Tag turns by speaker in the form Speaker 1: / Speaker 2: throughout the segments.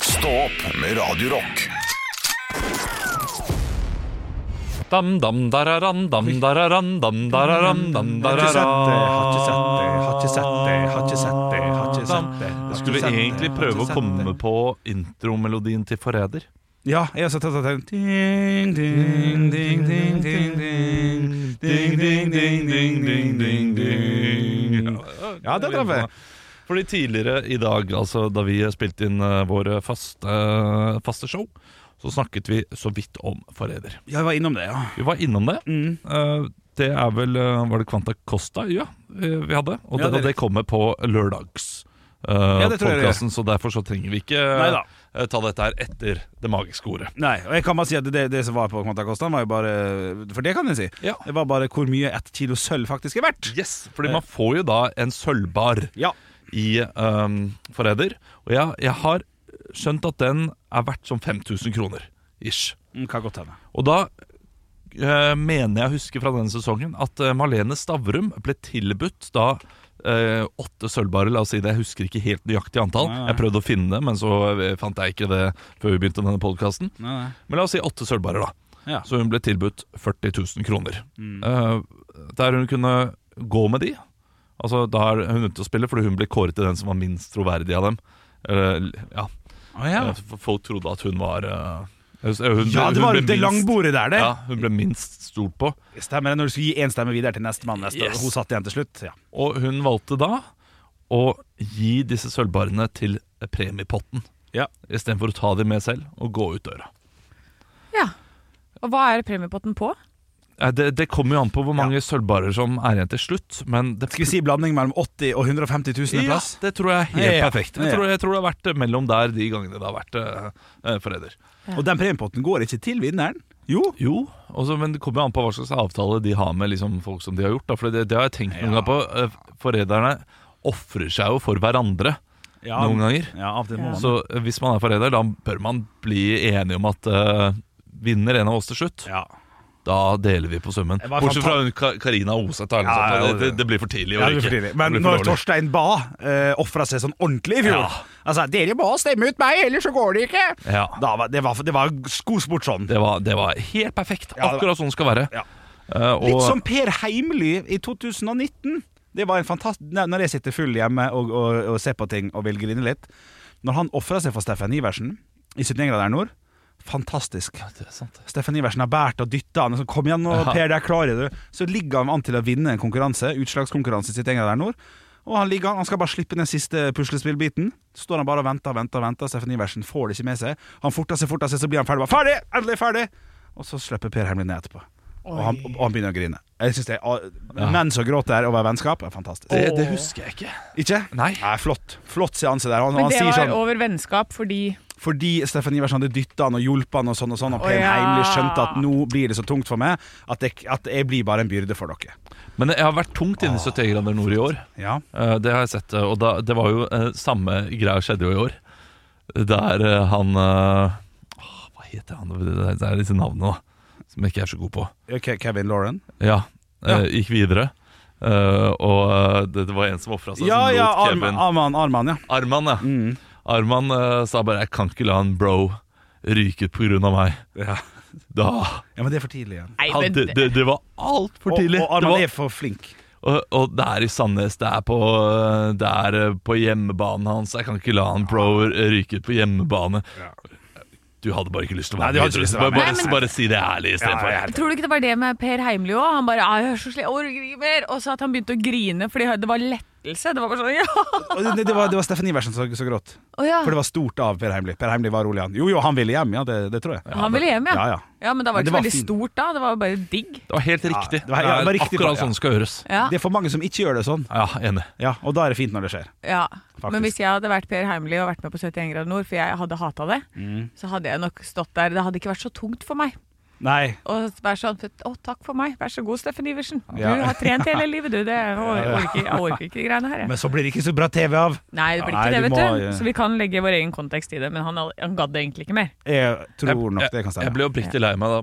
Speaker 1: Stå opp med Radio Rock.
Speaker 2: Dam, dam, dararan, dam, dararan, dam, dararan, dam,
Speaker 3: Har ikke sett det, har ikke sett det,
Speaker 2: dararan.
Speaker 3: har ikke sett det, har ikke sett det, har ikke sett det.
Speaker 2: Jeg skulle egentlig prøve å komme på intromelodien til Forræder.
Speaker 3: Ja, jeg har sett at den Ding, ding, ding, ding, ding, ding. Ding, ding, ding, ding, ding, ding, ding. Ja, det traff jeg.
Speaker 2: Fordi tidligere i dag, altså da vi spilte inn eh, våre faste, eh, faste show, så snakket vi så vidt om Forræder.
Speaker 3: Jeg var innom det, ja.
Speaker 2: Vi var innom det.
Speaker 3: Mm.
Speaker 2: Eh, Det er vel eh, Var det Quanta Costa ja, eh, vi hadde? Og
Speaker 3: Ja,
Speaker 2: det,
Speaker 3: det er
Speaker 2: og det kommer på lørdags. eh,
Speaker 3: det tror jeg det
Speaker 2: podcasten, så derfor så trenger vi ikke eh,
Speaker 3: Neida.
Speaker 2: eh, ta dette her etter det magiske ordet.
Speaker 3: Nei, og jeg kan bare si at det, det som var på Kvanta Kosta, var jo bare For det kan jeg si.
Speaker 2: Ja.
Speaker 3: Det var bare hvor mye ett kilo sølv faktisk er verdt.
Speaker 2: Yes, fordi man får jo da en sølvbar
Speaker 3: Ja.
Speaker 2: i um, Forræder. Og jeg, jeg har skjønt at den er verdt sånn 5000 kroner ish.
Speaker 3: Mm, Kan godt hende.
Speaker 2: Og da eh, mener jeg å huske fra denne sesongen at eh, Malene Stavrum ble tilbudt da eh, åtte sølvbarer, la oss si det. Jeg husker ikke helt nøyaktig antall.
Speaker 3: Nei, nei.
Speaker 2: Jeg prøvde å finne det, men så eh, fant jeg ikke det før vi begynte denne podkasten.
Speaker 3: Nei, nei.
Speaker 2: Men la oss si åtte sølvbarer, da.
Speaker 3: Ja.
Speaker 2: Så hun ble tilbudt 40 000 kroner.
Speaker 3: Mm.
Speaker 2: Eh, der hun kunne gå med de. Altså, da er hun ute å spille, fordi hun ble kåret til den som var minst troverdig av dem. Eller, ja.
Speaker 3: Å, ja.
Speaker 2: Eh, f- Folk trodde at hun var eh, hun, hun
Speaker 3: ja, det var
Speaker 2: ble
Speaker 3: jo det
Speaker 2: minst-
Speaker 3: langbordet der, det.
Speaker 2: Ja, hun ble minst stolt på.
Speaker 3: Stemmer det når du skal gi én stemme videre til neste mann neste
Speaker 2: Yes.
Speaker 3: år. Hun satt igjen til slutt. Ja.
Speaker 2: Og hun valgte da å gi disse sølvbarene til premiepotten.
Speaker 3: Ja.
Speaker 2: Istedenfor å ta dem med selv og gå ut døra.
Speaker 4: Ja. Og hva er premiepotten på?
Speaker 2: Eh, Det, det kommer jo an på hvor mange sølvbarer som er igjen til slutt, men det
Speaker 3: Skal vi si blanding mellom 80 og 150 000
Speaker 2: ja,
Speaker 3: en plass?
Speaker 2: det tror jeg er helt
Speaker 3: Ja, ja.
Speaker 2: perfekt. Jeg
Speaker 3: Ja.
Speaker 2: tror, jeg tror det har vært eh, mellom der de gangene det har vært eh, eh, forræder.
Speaker 3: Og den premiepotten går ikke til vinneren. Jo.
Speaker 2: Jo, også, men det kommer jo an på hva slags avtale de har med liksom, folk som de har gjort. Da. For det, det har jeg tenkt noen
Speaker 3: Ja.
Speaker 2: ganger på. eh, Forræderne ofrer seg jo for hverandre
Speaker 3: Ja,
Speaker 2: noen ganger.
Speaker 3: Ja, av og til
Speaker 4: Ja.
Speaker 3: må man
Speaker 2: Så eh, hvis man er forræder, da bør man bli enige om at eh, vinner en av oss til slutt,
Speaker 3: ja.
Speaker 2: da deler vi på summen.
Speaker 3: Det var
Speaker 2: Bortsett
Speaker 3: fanta-
Speaker 2: fra hun Ka- Karina Oseth. eller noe
Speaker 3: Ja,
Speaker 2: sånt.
Speaker 3: ja, ja.
Speaker 2: det, det, det blir for tidlig. å
Speaker 3: Ja, det blir
Speaker 2: ryke.
Speaker 3: for tidlig. Men
Speaker 2: Det blir for
Speaker 3: når
Speaker 2: dårlig.
Speaker 3: Torstein Bae eh, ofra seg sånn ordentlig i fjor
Speaker 2: Ja.
Speaker 3: Altså, 'Dere må stemme ut meg, ellers så går det ikke!'
Speaker 2: ja.
Speaker 3: Da var, det, var, det var skosport sånn.
Speaker 2: Det var, det var helt perfekt.
Speaker 3: Ja, det var-
Speaker 2: Akkurat sånn det skal være.
Speaker 3: Ja.
Speaker 2: Eh, og,
Speaker 3: Litt som Per Heimly i 2019. Det var en fantastisk Når når jeg sitter full hjemme og, og, og ser på ting og vil grine litt Når han ofra seg for Steffen Iversen i 71 grader nord Fantastisk.
Speaker 2: Det er sant.
Speaker 3: Steffen Iversen har båret og dytta han. og Så kom igjen nå,
Speaker 2: Ja.
Speaker 3: Per, der klarer du. Så ligger han an til å vinne en konkurranse, utslagskonkurranse i 71 grader nord. Og han ligger an, han skal bare slippe den siste puslespillbiten. Så står han bare og venter og venter. og venter Steffen Iversen får det ikke med seg. Han forter seg, forter seg, så blir han ferdig. Bare, ferdig! Endelig ferdig! Og så slipper Per Hermlin ned etterpå. Og han, og han begynner å grine. Jeg synes det er, Menn som gråter over vennskap, er fantastisk.
Speaker 2: Det, det husker jeg ikke.
Speaker 3: Ikke?
Speaker 2: Nei.
Speaker 3: Nei, flott. Flott seanse der. Han,
Speaker 4: Men
Speaker 3: han
Speaker 4: det
Speaker 3: sier
Speaker 4: var
Speaker 3: sånn
Speaker 4: over vennskap fordi
Speaker 3: fordi Steffen Iversen hadde dytta han og hjulpet han og sånn og sånn, og
Speaker 4: Å,
Speaker 3: Per
Speaker 4: ja.
Speaker 3: Heimly skjønte at nå blir det så tungt for meg at jeg, at jeg blir bare en byrde for dere.
Speaker 2: Men jeg har vært tungt
Speaker 3: Ah.
Speaker 2: inne i 70 grader nord i år.
Speaker 3: Ja.
Speaker 2: Eh, Det har jeg sett, eh, og da, det var jo eh, samme greia skjedde jo i år. Der eh, han eh, åh, Hva heter han? Det er- det er disse navnene, da. Som jeg ikke er så god på.
Speaker 3: Eh, Ke- Kevin Lauren.
Speaker 2: Ja. eh,
Speaker 3: Ja.
Speaker 2: Gikk videre. Eh, og eh, det, det var en som ofra seg,
Speaker 3: Ja,
Speaker 2: som
Speaker 3: ja, Mm.
Speaker 2: lot Kevin
Speaker 3: Arman, Arman, Arman ja.
Speaker 2: Arman, ja. Arman eh, sa bare 'jeg kan ikke la en bro ryke ut pga. meg'.
Speaker 3: ja.
Speaker 2: Da
Speaker 3: Ja, Men det er for tidlig igjen.
Speaker 4: Nei,
Speaker 2: han,
Speaker 4: men
Speaker 2: det, det, det var altfor tidlig.
Speaker 3: Og, og
Speaker 2: det
Speaker 3: Arman
Speaker 2: var,
Speaker 3: er for flink.
Speaker 2: og, og det er i Sandnes, det er på, det er eh, på hjemmebanen hans. Jeg kan ikke la han bro ryke ut på hjemmebane. Du hadde bare ikke lyst til å
Speaker 3: Nei,
Speaker 2: være
Speaker 3: du
Speaker 2: med.
Speaker 3: hadde ikke lyst til å være
Speaker 2: Bare,
Speaker 3: med.
Speaker 2: bare,
Speaker 4: Nei, men-
Speaker 2: bare si det ærlig istedenfor.
Speaker 3: Ja, ja, ja.
Speaker 4: Tror du ikke det var det med Per Heimly òg? Han bare «Ah, 'Jeg er så slem, jeg orker ikke mer'. Og så at han begynte å grine fordi det var lettelse. Det var bare sånn ja.
Speaker 3: Og det, det, var, det var Steffen Iversen som så gråt.
Speaker 4: Å ja.
Speaker 3: For det var stort av Per Heimly. Per Heimly var rolig, han. Jo jo, han ville hjem, ja, det, det tror jeg.
Speaker 4: han ville hjem, ja.
Speaker 3: Ja, ja.
Speaker 4: Men da var det
Speaker 3: Men det
Speaker 4: ikke
Speaker 3: var
Speaker 4: veldig
Speaker 3: fint.
Speaker 4: stort da. Det var jo bare digg.
Speaker 2: Det var helt riktig.
Speaker 3: det var- ja, det var riktig,
Speaker 2: akkurat
Speaker 3: ja.
Speaker 2: sånn det skal gjøres.
Speaker 4: Ja,
Speaker 3: Det er for mange som ikke gjør det sånn.
Speaker 2: Ja, enig.
Speaker 3: Ja, Og da er det fint når det skjer.
Speaker 4: ja.
Speaker 3: Faktisk.
Speaker 4: Men hvis jeg hadde vært Per Heimly og vært med på 71 grader nord, for jeg hadde hata det,
Speaker 3: Mm.
Speaker 4: så hadde jeg nok stått der. Det hadde ikke vært så tungt for meg.
Speaker 3: Nei.
Speaker 4: Og være sånn Å, takk for meg. Vær så god, Steffen Iversen. Du
Speaker 3: Ja.
Speaker 4: har trent hele livet, du. Det jeg orker, jeg orker ikke de greiene her, jeg.
Speaker 3: Men så blir det ikke så bra TV av.
Speaker 4: Nei, det blir
Speaker 3: Nei,
Speaker 4: ikke det,
Speaker 3: du
Speaker 4: vet
Speaker 3: må- eh.
Speaker 4: du. Så vi kan legge vår egen kontekst i det. Men han, han gadd egentlig ikke mer.
Speaker 3: Jeg tror nok det
Speaker 2: Jeg
Speaker 3: kan stemme.
Speaker 2: ble oppriktig lei meg da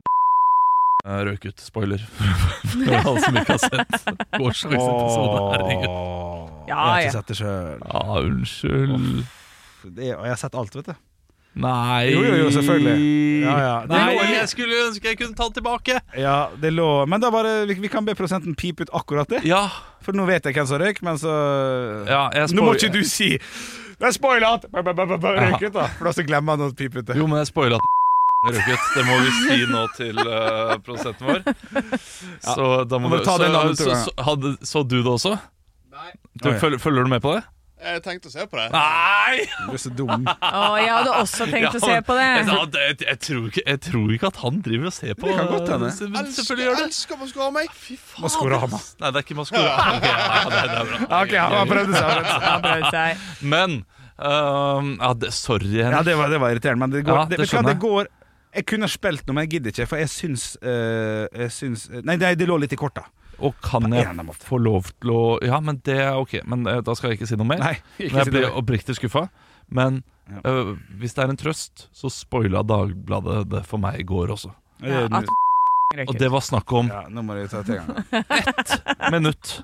Speaker 2: jeg røk ut. Spoiler. For alle som ikke har sett gårsdagens episode. Herregud.
Speaker 3: Åh,
Speaker 4: Ja,
Speaker 3: jeg har
Speaker 4: ja.
Speaker 3: ikke sett det sjøl.
Speaker 2: Ja, unnskyld.
Speaker 3: Det, og jeg har sett alt, vet du.
Speaker 2: Nei
Speaker 3: Jo, jo, jo, selvfølgelig. Ja, ja. Det
Speaker 2: Nei,
Speaker 3: lå en-
Speaker 2: jeg skulle ønske jeg kunne tatt tilbake.
Speaker 3: Ja, det lå Men da bare vi, vi kan be prosenten pipe ut akkurat det.
Speaker 2: Ja,
Speaker 3: For nå vet jeg hvem som røyk, men så
Speaker 2: ja jeg
Speaker 3: Nå
Speaker 2: spoil-
Speaker 3: må ikke du si Det er spoilet! Ba, ba, ba, ba, ba, Røyk ut, da. For da så glemmer han å pipe ut det.
Speaker 2: Jo, men jeg spoila at røk ut. Det må vi si nå til uh, prosenten vår. Så da må
Speaker 3: må
Speaker 2: du
Speaker 3: ta
Speaker 2: så,
Speaker 3: den andre
Speaker 2: så,
Speaker 3: turen, ja.
Speaker 2: så, hadde, så du det også?
Speaker 5: Nei,
Speaker 2: Du,
Speaker 3: Å, ja.
Speaker 2: følger, følger du med på det?
Speaker 5: jeg tenkte å se på det.
Speaker 2: Nei!
Speaker 3: Du er så dum.
Speaker 4: Å, jeg hadde også tenkt
Speaker 2: Ja,
Speaker 4: å se
Speaker 2: men-
Speaker 4: på
Speaker 2: Jeg,
Speaker 4: det.
Speaker 2: ja, det- jeg, jeg, tror ikke, jeg tror ikke at han driver og ser på
Speaker 3: Det kan godt hende.
Speaker 2: eh, se- men
Speaker 5: Elsker,
Speaker 2: Selvfølgelig gjør det.
Speaker 5: elsker Maskorama.
Speaker 2: Fy faen.
Speaker 3: Maskorama.
Speaker 2: Nei, det er ikke Maskorama. Ok, ja, ja, det, det er bra.
Speaker 3: Ok, han har prøvd seg.
Speaker 4: Han prøvde seg.
Speaker 2: Men ehm, ja, det, Sorry,
Speaker 3: Ja,
Speaker 2: Henrik.
Speaker 3: det var, det var irriterende, men det går,
Speaker 2: Ja,
Speaker 3: det,
Speaker 2: det
Speaker 3: vet du hva,
Speaker 2: skjønner
Speaker 3: det går Jeg kunne ha spilt noe, men jeg gidder ikke, for jeg syns, eh, jeg syns Nei, nei, det lå litt i korta.
Speaker 2: Og kan
Speaker 3: På en
Speaker 2: jeg
Speaker 3: eller annen måte.
Speaker 2: få lov til å Ja, men det er ok. Men eh, da skal jeg ikke si noe mer.
Speaker 3: Nei,
Speaker 2: Men
Speaker 3: ikke
Speaker 2: jeg
Speaker 3: si det.
Speaker 2: blir oppriktig skuffa. Men
Speaker 3: Ja.
Speaker 2: øh, hvis det er en trøst, så spoila Dagbladet det for meg i går også.
Speaker 4: Ja, at
Speaker 2: Og
Speaker 4: røyker.
Speaker 2: det var snakk om
Speaker 3: Ja, nå må jeg ta til gang.
Speaker 2: minutt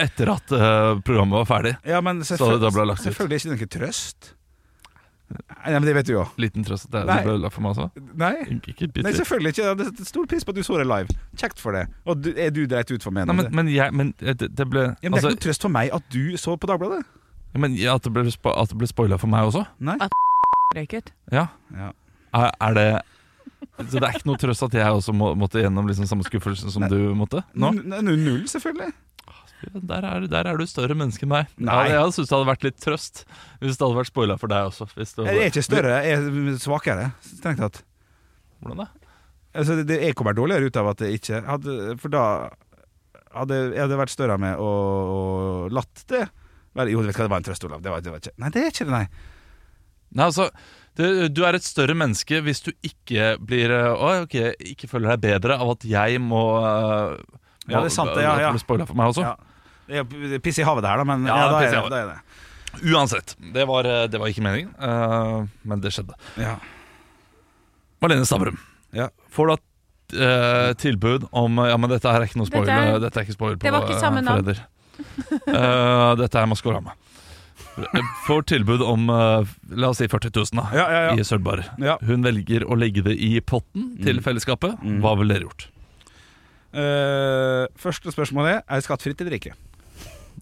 Speaker 2: etter at øh, programmet var ferdig.
Speaker 3: Ja, men
Speaker 2: Så hadde det
Speaker 3: selvfølgelig,
Speaker 2: da blitt lagt ut.
Speaker 3: selvfølgelig er ikke det noe trøst. Nei, men det vet du jo.
Speaker 2: Liten trøst at det
Speaker 3: Nei.
Speaker 2: ble ødelagt for meg også.
Speaker 3: Nei.
Speaker 2: Ikke, ikke bitter.
Speaker 3: Nei, selvfølgelig ikke. Det er stor pris på at du så det live. Kjekt for det. Og du, er du dreit ut for meg?
Speaker 2: Nei,
Speaker 3: nå?
Speaker 2: men, men, jeg, men eh, det, det ble
Speaker 3: ja, men det er
Speaker 2: altså,
Speaker 3: ikke noe trøst for meg at du så på Dagbladet.
Speaker 2: ja, men, ja, At det ble, spo- at det ble spoila for meg også?
Speaker 3: Nei.
Speaker 4: Røyk ut.
Speaker 2: Ja.
Speaker 3: Ja.
Speaker 2: Er, er det Så det er ikke noe trøst at jeg også må, måtte gjennom liksom samme skuffelsen som
Speaker 3: Nei.
Speaker 2: du måtte? Nå?
Speaker 3: N- n- Null, selvfølgelig.
Speaker 2: Der er, der er du større menneske enn meg.
Speaker 3: Nei.
Speaker 2: Jeg, jeg syns det hadde vært litt trøst hvis det hadde vært spoila for deg også. Hvis det,
Speaker 3: Jeg er ikke større, jeg er svakere. Strengt tatt.
Speaker 2: Hvordan da?
Speaker 3: Altså, det, det- jeg kommer dårligere ut av at jeg ikke hadde For da hadde jeg hadde vært større av meg og, og latt det være Jo, du vet hva, det var en trøst, Olav. Det var, det var ikke Nei, det er ikke det, nei.
Speaker 2: Nei, altså, det, du er et større menneske hvis du ikke blir eh, Å, ok, ikke føler deg bedre av at jeg må eh,
Speaker 3: Ja, det er sant, det, ja,
Speaker 2: at
Speaker 3: ja.
Speaker 2: blir spoila for meg også.
Speaker 3: Ja. Det er piss i havet, det her, da, men ja,
Speaker 2: Ja,
Speaker 3: da,
Speaker 2: piss i
Speaker 3: er det,
Speaker 2: havet.
Speaker 3: da er det.
Speaker 2: Uansett. Det var, eh, det var ikke meningen, eh, men det skjedde.
Speaker 3: Ja.
Speaker 2: Malene Stavrum,
Speaker 3: Ja.
Speaker 2: får du da eh, tilbud om eh, Ja, men dette her er ikke noe
Speaker 4: Dette er-
Speaker 2: spoil. eh, Dette er ikke spoil på
Speaker 4: Det var ikke
Speaker 2: eh,
Speaker 4: samme navn.
Speaker 2: Forræder. Eh, dette er Maskorama. Får tilbud om eh, la oss si 40 000 da,
Speaker 3: Ja, ja, ja.
Speaker 2: i Sølvbar.
Speaker 3: Ja.
Speaker 2: Hun velger å legge det i potten til fellesskapet.
Speaker 3: Mm.
Speaker 2: Hva ville dere gjort?
Speaker 3: Eh, første spørsmål er Er det skattfritt eller ikke?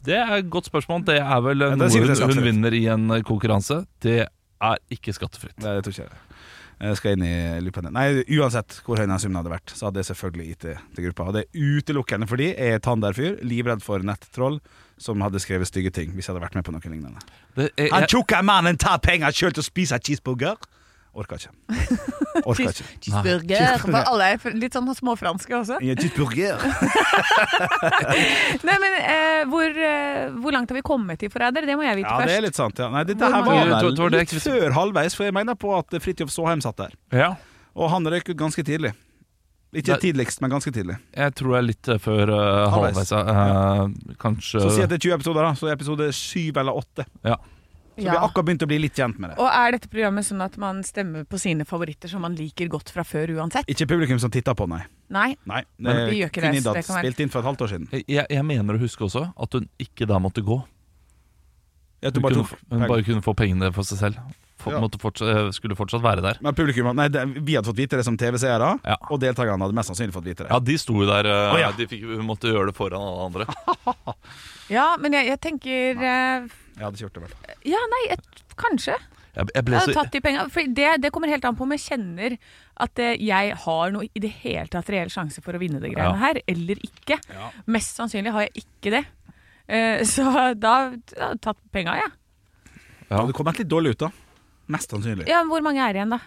Speaker 2: Det er et godt spørsmål. Det er vel
Speaker 3: det
Speaker 2: noe
Speaker 3: sier vi
Speaker 2: hun,
Speaker 3: det er
Speaker 2: hun
Speaker 3: skattefritt.
Speaker 2: vinner i en eh, konkurranse. Det er ikke skattefritt.
Speaker 3: Nei, det tror ikke jeg. Jeg skal inn i loopen. Nei, uansett hvor høy den summen hadde vært, så hadde jeg selvfølgelig gitt det til gruppa. Og det er utelukkende fordi jeg er Tander-fyr, livredd for nettroll, som hadde skrevet stygge ting hvis jeg hadde vært med på noe lignende.
Speaker 2: Det er,
Speaker 3: Han
Speaker 2: jeg,
Speaker 3: tjukke mannen tar penger sjøl til å spise cheeseburger! Orka ikke. Orka ikke.
Speaker 4: Cheeseburger. For alle er litt sånn småfranske også.
Speaker 3: Ja, Cheeseburger!
Speaker 4: Nei, men eh, hvor, eh, hvor langt har vi kommet i Forræder? Det må jeg vite
Speaker 3: Ja, det
Speaker 4: først.
Speaker 3: er litt sant. Ja. Nei, dette
Speaker 4: Hvor
Speaker 3: her
Speaker 4: mange-
Speaker 2: Det
Speaker 3: var
Speaker 2: var- det var
Speaker 3: vel
Speaker 2: det
Speaker 3: litt
Speaker 2: jeg-
Speaker 3: før halvveis, for jeg mener på at Fridtjof Saaheim satt der.
Speaker 2: ja,
Speaker 3: Og han røyk ut ganske tidlig. Ikke
Speaker 2: Nei.
Speaker 3: tidligst, men ganske tidlig.
Speaker 2: jeg tror jeg er litt eh, før uh,
Speaker 3: Halvveis.
Speaker 2: halvveis. ja. Eh, kanskje
Speaker 3: Så si at det er 20 episoder, da. Så er episode 7 eller 8. Så vi
Speaker 4: Ja.
Speaker 3: har akkurat begynt å bli litt kjent med det.
Speaker 4: Og er dette programmet sånn at man stemmer på sine favoritter som man liker godt fra før uansett?
Speaker 3: Ikke publikum som titter på, nei.
Speaker 4: Nei.
Speaker 3: nei det
Speaker 2: Men-
Speaker 3: er
Speaker 4: Vi gjør ikke det, så
Speaker 3: Trinidad,
Speaker 4: det kan være-
Speaker 3: Spilt inn for et halvt år siden.
Speaker 2: jeg, jeg mener å huske også at hun ikke da måtte gå.
Speaker 3: Ja, du
Speaker 2: Hun,
Speaker 3: bare
Speaker 2: kunne,
Speaker 3: tok
Speaker 2: hun
Speaker 3: penger.
Speaker 2: bare kunne få pengene for seg selv. For,
Speaker 3: Ja.
Speaker 2: måtte forts- eh, skulle fortsatt være der.
Speaker 3: Men publikum, nei, det, vi hadde fått vite det som TV-seere,
Speaker 2: Ja.
Speaker 3: og deltakerne hadde mest sannsynlig fått vite det.
Speaker 2: Ja, de sto jo der. eh,
Speaker 3: Å, ja.
Speaker 2: de fikk, hun måtte gjøre det foran alle andre.
Speaker 4: Ja, men jeg, jeg tenker eh,
Speaker 3: Jeg hadde ikke gjort det, i hvert fall.
Speaker 4: Ja, nei, jeg, kanskje.
Speaker 2: Jeg, jeg ble
Speaker 4: Jeg
Speaker 2: så,
Speaker 4: hadde
Speaker 3: altså-
Speaker 4: tatt de penga. For det, det kommer helt an på om jeg kjenner at eh, jeg har noe i det hele tatt reell sjanse for å vinne det greiene
Speaker 2: Ja.
Speaker 4: her, eller ikke.
Speaker 3: Ja.
Speaker 4: Mest sannsynlig har jeg ikke det. Eh, Så da jeg hadde tatt penga, jeg.
Speaker 2: Ja.
Speaker 3: Det hadde kommet litt dårlig ut, da. Mest sannsynlig. Eh,
Speaker 4: Ja, men hvor mange er igjen, da?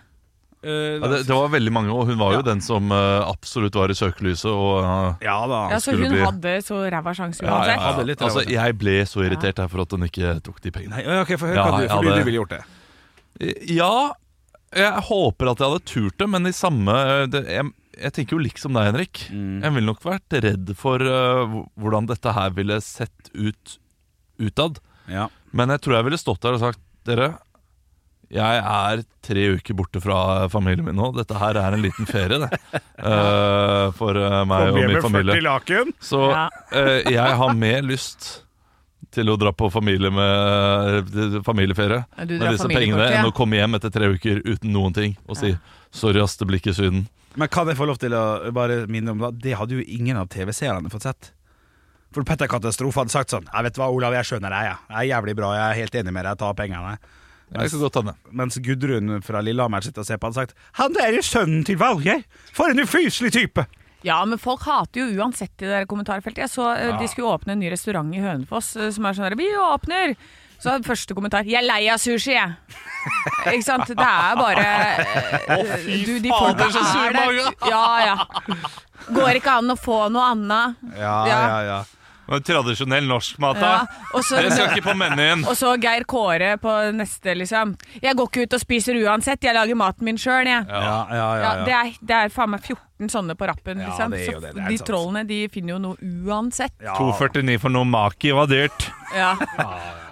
Speaker 2: ja, det, det var veldig mange, og hun var jo
Speaker 3: Ja.
Speaker 2: den som eh, absolutt var i søkelyset. Og eh,
Speaker 3: Ja da.
Speaker 4: Ja, så
Speaker 2: skulle
Speaker 4: Altså, hun
Speaker 2: bli-
Speaker 4: hadde så ræva sjanse
Speaker 2: Ja, ja,
Speaker 4: uansett.
Speaker 2: ja.
Speaker 3: Hadde litt
Speaker 2: Altså,
Speaker 3: ræva.
Speaker 2: jeg ble så irritert her for at hun ikke tok de pengene.
Speaker 3: Nei, ja, ok, for hør
Speaker 2: Ja,
Speaker 3: hva du,
Speaker 2: jeg
Speaker 3: for du,
Speaker 2: hadde-
Speaker 3: du ville gjort det.
Speaker 2: Ja, jeg håper at jeg hadde turt det, men i samme eh, det, jeg, jeg tenker jo liksom deg, Henrik.
Speaker 4: Mm.
Speaker 2: Jeg ville nok vært redd for eh, hvor- hvordan dette her ville sett ut utad.
Speaker 3: Ja.
Speaker 2: Men jeg tror jeg ville stått der og sagt Dere, jeg er tre uker borte fra familien min nå. Dette her er en liten ferie, det. eh, for eh, meg og min familie.
Speaker 3: laken.
Speaker 2: Så
Speaker 4: Ja.
Speaker 2: eh, jeg har mer lyst til å dra på familie med, eh, familieferie
Speaker 4: Ja, du drar
Speaker 2: med disse
Speaker 4: familiekort,
Speaker 2: pengene
Speaker 4: ja.
Speaker 2: enn å komme hjem etter tre uker uten noen ting og si 'sorry, ass, det blir ikke Syden'.
Speaker 3: Men kan jeg få lov til å bare minne om da? Det hadde jo ingen av TV-seerne fått sett. For Petter Katastrofe hadde sagt sånn Jeg vet hva, Olav, jeg skjønner deg, jeg. Det er jævlig bra, jeg er helt enig med deg, ta pengene.
Speaker 2: Det kan godt hende.
Speaker 3: Mens Gudrun fra Lillehammer sitter og ser på hadde sagt Han der er sønnen til Valgeir! For en ufyselig type!
Speaker 4: Ja, men folk hater jo uansett i det der kommentarfeltet. Jeg så eh, de skulle åpne en ny restaurant i Hønefoss eh, som er sånn der Vi åpner! Så hadde første kommentar 'Jeg er lei av sushi, jeg'. Ikke sant? Det er bare eh, Å,
Speaker 2: fy fader, så sur mage.
Speaker 4: Ja, ja. Går ikke an å få noe annet.
Speaker 3: Ja, ja,
Speaker 4: Ja.
Speaker 3: ja.
Speaker 2: Men Tradisjonell norsk mat,
Speaker 4: Ja.
Speaker 2: da.
Speaker 4: Og så
Speaker 2: Dere skal ikke på menyen.
Speaker 4: og så Geir Kåre på neste, liksom. 'Jeg går ikke ut og spiser uansett, jeg lager maten min sjøl', jeg.
Speaker 3: ja, ja, ja,
Speaker 4: Ja, det, er, det er faen meg 14 sånne på rappen.
Speaker 3: Ja,
Speaker 4: liksom.
Speaker 3: det er jo
Speaker 4: Så
Speaker 3: det, det er
Speaker 4: de
Speaker 3: sant.
Speaker 4: trollene de finner jo noe uansett.
Speaker 3: ja.
Speaker 2: 2,49 for noe maki var dyrt.
Speaker 4: Ja.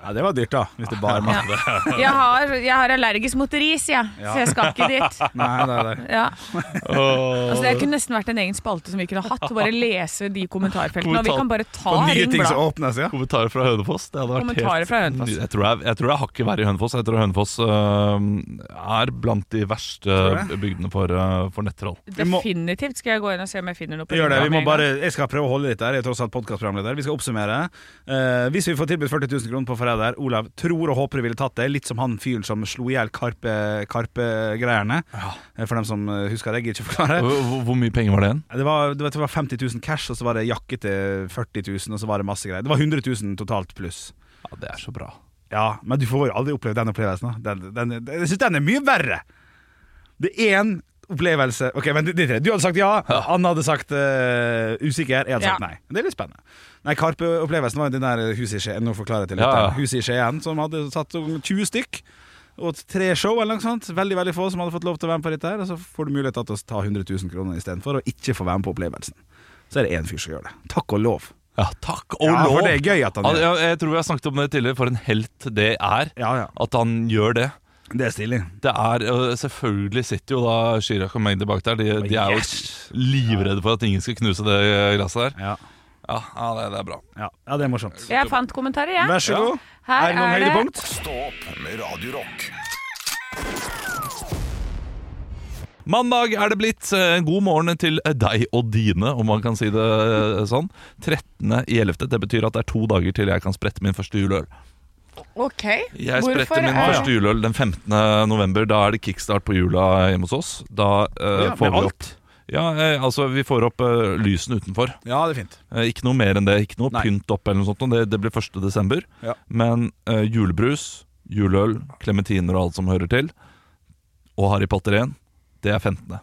Speaker 3: ja, det var dyrt, da. Hvis det bare var det.
Speaker 4: Jeg, har, jeg har allergisk mot ris, jeg,
Speaker 3: Ja.
Speaker 4: så jeg skal ikke dit.
Speaker 3: Nei, det er det.
Speaker 4: Ja. Altså, det kunne nesten vært en egen spalte som vi kunne hatt. Og bare lese de kommentarfeltene. Og vi kan bare ta
Speaker 3: Og nye
Speaker 4: ring
Speaker 3: ting som
Speaker 4: blad.
Speaker 3: åpnes, ja.
Speaker 2: Kommentarer fra Hønefoss. Det hadde vært
Speaker 4: Kommentarer
Speaker 2: helt
Speaker 4: fra Hønefoss.
Speaker 2: ny- Jeg tror jeg, jeg tror jeg har ikke vært i Hønefoss. Jeg tror Hønefoss øh, er blant de verste
Speaker 3: Tror
Speaker 2: bygdene for, øh, for nettroll.
Speaker 3: Vi må-
Speaker 4: Definitivt skal jeg gå inn og se om jeg finner noe. på
Speaker 3: Gjør det,
Speaker 4: Ring
Speaker 3: vi
Speaker 4: med
Speaker 3: må
Speaker 4: en gang.
Speaker 3: bare, Jeg skal prøve å holde litt der. Jeg er tross alt podkastprogramleder. Vi skal oppsummere. Eh, hvis vi får tilbudt 40 000 kroner på Forræder, Olav tror og håper ville tatt det. Litt som han fyren som slo i hjel Karpe- Karpe-greierne. Eh, For dem som eh, husker det, jeg gidder ikke forklare.
Speaker 2: Hvor, hvor- hvor mye penger var det igjen?
Speaker 3: Det var, det var- det var 50 000 cash, og så var det jakke til 40 000, og så var det masse greier. Det var 100 000 totalt pluss.
Speaker 2: Ja, Det er så bra.
Speaker 3: Ja, men du får aldri oppleve den opplevelsen. da. Den, den, den, jeg syns den er mye verre. Det er én opplevelse Ok, vent litt. Du hadde sagt ja, Anne hadde sagt eh, usikker, jeg hadde sagt
Speaker 4: Ja.
Speaker 3: nei. Det er litt spennende. Nei, Karpe-opplevelsen var jo det der eh, huset i Skien. Nå forklarer jeg til
Speaker 2: Ja, ja.
Speaker 3: lytteren. Huset i Skien som hadde satt om 20 stykk. Og tre show eller noe sånt. Veldig veldig få som hadde fått lov til å være med på dette. her Og så får du mulighet til å ta 100 000 kroner istedenfor, og ikke få være med på opplevelsen. Så er det én fyr som gjør det. Takk og lov.
Speaker 2: Ja, takk og
Speaker 3: ja,
Speaker 2: lov!
Speaker 3: For det er gøy at han
Speaker 2: Ja,
Speaker 3: gjør det.
Speaker 2: ja, jeg tror vi har snakket om det tidligere, for en helt det er.
Speaker 3: Ja, ja.
Speaker 2: At han gjør det.
Speaker 3: Det er stilig.
Speaker 2: Det er, øh, Selvfølgelig sitter jo da Chirag og Magdi bak der. De, de er jo
Speaker 3: Yes.
Speaker 2: livredde for at ingen skal knuse det glasset der.
Speaker 3: Ja,
Speaker 2: Ja, ja det, det er bra.
Speaker 3: ja. ja det er morsomt.
Speaker 4: Jeg fant kommentarer, jeg.
Speaker 3: Vær så god.
Speaker 4: Her
Speaker 3: Er det noen
Speaker 4: er det-
Speaker 3: høydepunkt?
Speaker 2: Eh,
Speaker 1: Stå opp med Radio Rock.
Speaker 2: Mandag er det blitt. Eh, God morgen til deg og dine, om man kan si det eh, sånn. 13.11. Det betyr at det er to dager til jeg kan sprette min første juleøl.
Speaker 4: Ok.
Speaker 2: Jeg
Speaker 4: Hvorfor
Speaker 2: spretter min
Speaker 4: er-
Speaker 2: første juleøl den 15. november. Da er det kickstart på jula hjemme hos oss. Da eh,
Speaker 3: Ja, med
Speaker 2: får vi
Speaker 3: alt.
Speaker 2: opp ja, eh, altså Vi får opp eh, lysene utenfor.
Speaker 3: Ja, det er fint.
Speaker 2: Eh, ikke noe mer enn det. Ikke noe
Speaker 3: Nei.
Speaker 2: pynt opp. eller noe sånt Det, det blir 1. desember.
Speaker 3: Ja.
Speaker 2: Men eh, julebrus, juleøl, klementiner og alt som hører til, og Harry Potter 1, det er 15.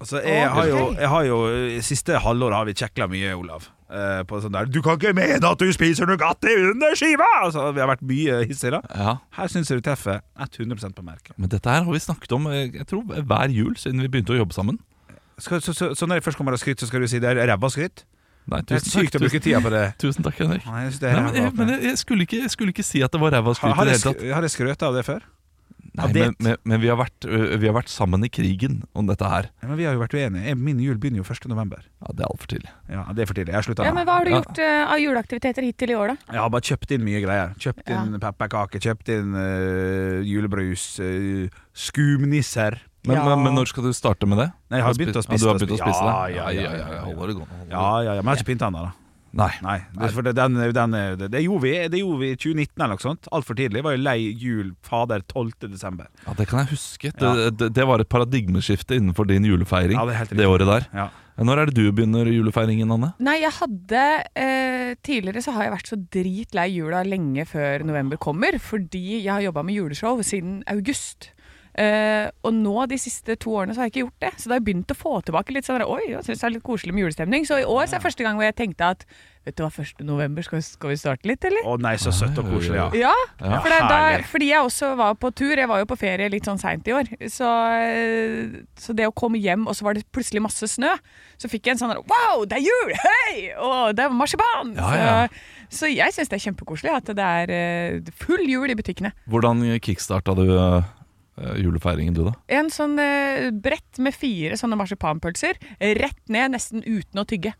Speaker 3: Altså, jeg,
Speaker 4: Å,
Speaker 3: har jo,
Speaker 4: ok.
Speaker 3: jeg har jo eh, Siste halvåret har vi kjekla mye, Olav. eh, På sånn der 'Du kan ikke mene at du spiser Nugatti under skiva!' Altså, vi har vært mye hissige. da.
Speaker 2: Ja
Speaker 3: Her syns jeg du treffer 100 på merket.
Speaker 2: Men dette her har vi snakket om eh, jeg tror, hver jul siden vi begynte å jobbe sammen.
Speaker 3: Skal, så, så, så når jeg først kommer av skryt, så skal du si det er ræva skryt?
Speaker 2: Nei,
Speaker 3: Det er sykt å bruke tida på det.
Speaker 2: Tusen, tusen takk, Henrik.
Speaker 3: Nei, jeg synes det er
Speaker 2: Nei, men
Speaker 3: ræva.
Speaker 2: jeg, men jeg, jeg, skulle ikke, jeg skulle ikke si at det var ræva
Speaker 3: Har,
Speaker 2: skryt i
Speaker 3: har,
Speaker 2: det
Speaker 3: jeg
Speaker 2: hele tatt.
Speaker 3: sk- har jeg skrøta av det før?
Speaker 2: Nei,
Speaker 3: ja, det-
Speaker 2: men, men, men vi, har vært, ø, vi har vært sammen i krigen om dette her.
Speaker 3: Ja, Men vi har jo vært uenige. Jeg- Min jul begynner jo 1. november.
Speaker 2: Ja, Det er altfor tidlig.
Speaker 3: Ja, Det er for tidlig. Jeg har slutta.
Speaker 4: Ja,
Speaker 3: nå.
Speaker 4: men Hva har du
Speaker 2: Ja.
Speaker 4: gjort eh, av juleaktiviteter hittil i år, da?
Speaker 3: Jeg har bare kjøpt inn mye greier. Kjøpt
Speaker 4: Ja.
Speaker 3: inn pepperkaker, kjøpt inn eh, julebrus, eh, skumnisser.
Speaker 2: Men,
Speaker 4: Ja.
Speaker 2: men, men når skal du starte med det?
Speaker 3: Nei, jeg har begynt å spise
Speaker 2: ja, Du har
Speaker 3: det.
Speaker 2: begynt å spise
Speaker 3: Ja,
Speaker 2: det?
Speaker 3: ja, ja, ja, ja.
Speaker 2: Holder det gående. holder
Speaker 3: Ja, ja, ja, men jeg har ikke pynta ennå, da.
Speaker 2: det- Nei.
Speaker 3: Nei, det, for det, den, den, det, det, gjorde vi, det gjorde vi i 2019 eller noe sånt. Altfor tidlig. Var jo lei jul fader 12. desember.
Speaker 2: Ja, det kan jeg huske. Det,
Speaker 3: Ja.
Speaker 2: det, det var et paradigmeskifte innenfor din julefeiring
Speaker 3: Ja, det er helt
Speaker 2: det
Speaker 3: riktig.
Speaker 2: året der.
Speaker 3: Ja.
Speaker 2: Når er det du begynner julefeiringen, Anne?
Speaker 4: Nei, jeg hadde eh, Tidligere så har jeg vært så dritlei jula lenge før november kommer, fordi jeg har jobba med juleshow siden august. Eh, og nå de siste to årene så har jeg ikke gjort det. Så da har jeg begynt å få tilbake litt sånn der, Oi, jeg synes det er litt koselig med julestemning. Så i år så er det første gang hvor jeg tenkte at Vet du hva, 1. november, skal vi, skal vi starte litt, eller?
Speaker 3: Å nei, så søtt og koselig, ja.
Speaker 4: Ja,
Speaker 2: Ja,
Speaker 4: for det, er da,
Speaker 3: herlig.
Speaker 4: fordi jeg også var på tur. Jeg var jo på ferie litt sånn seint i år. Så, eh, så det å komme hjem, og så var det plutselig masse snø, så fikk jeg en sånn der, Wow, det er jul! Hei! Og det er marsipan!
Speaker 2: Ja, ja.
Speaker 4: Så, så jeg syns det er kjempekoselig at det er eh, full jul i butikkene.
Speaker 2: Hvordan kickstarta du ø, eh, julefeiringen, du, da?
Speaker 4: En sånn eh, brett med fire sånne marsipanpølser. Rett ned, nesten uten å tygge.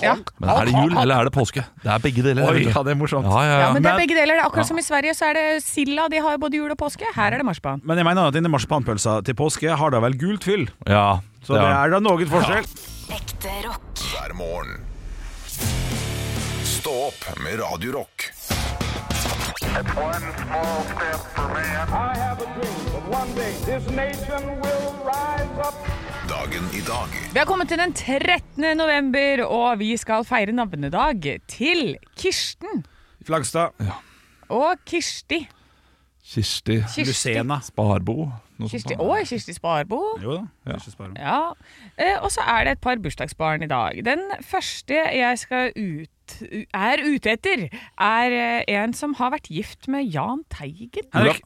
Speaker 4: Ja.
Speaker 2: Men er det jul, eller er det påske? Det er begge deler.
Speaker 3: Oi,
Speaker 2: vet du.
Speaker 3: ja, det er morsomt.
Speaker 2: ja, ja,
Speaker 4: Ja,
Speaker 2: ja.
Speaker 4: men det er
Speaker 3: men-
Speaker 4: begge deler. Det er akkurat som i Sverige, så er det silda. De har jo både jul og påske. Her er det marsipan.
Speaker 3: Men jeg mener at denne marsipanpølsa til påske har da vel gult fyll,
Speaker 2: ja
Speaker 3: så det er da noe forskjell.
Speaker 5: Ekte rock.
Speaker 1: hver morgen. Stå opp med Radio Rock.
Speaker 6: One small step for man. I have a dream that one day this nation will rise up.
Speaker 1: Dagen i dag
Speaker 4: Vi har kommet til den 13. november, og vi skal feire navnedag til Kirsten
Speaker 3: Flagstad,
Speaker 4: og Kirsti.
Speaker 2: Kirsti
Speaker 4: Kirsti.
Speaker 3: Lucena.
Speaker 2: Sparbo. noe sånt
Speaker 4: Kirsti
Speaker 2: da.
Speaker 4: og Kirsti Sparbo.
Speaker 3: Jo da. det er ikke spare om.
Speaker 4: Ja. Eh, og så er det et par bursdagsbarn i dag. Den første jeg skal ut er ute etter, er eh, en som har vært gift med Jahn Teigen.
Speaker 3: Henrik,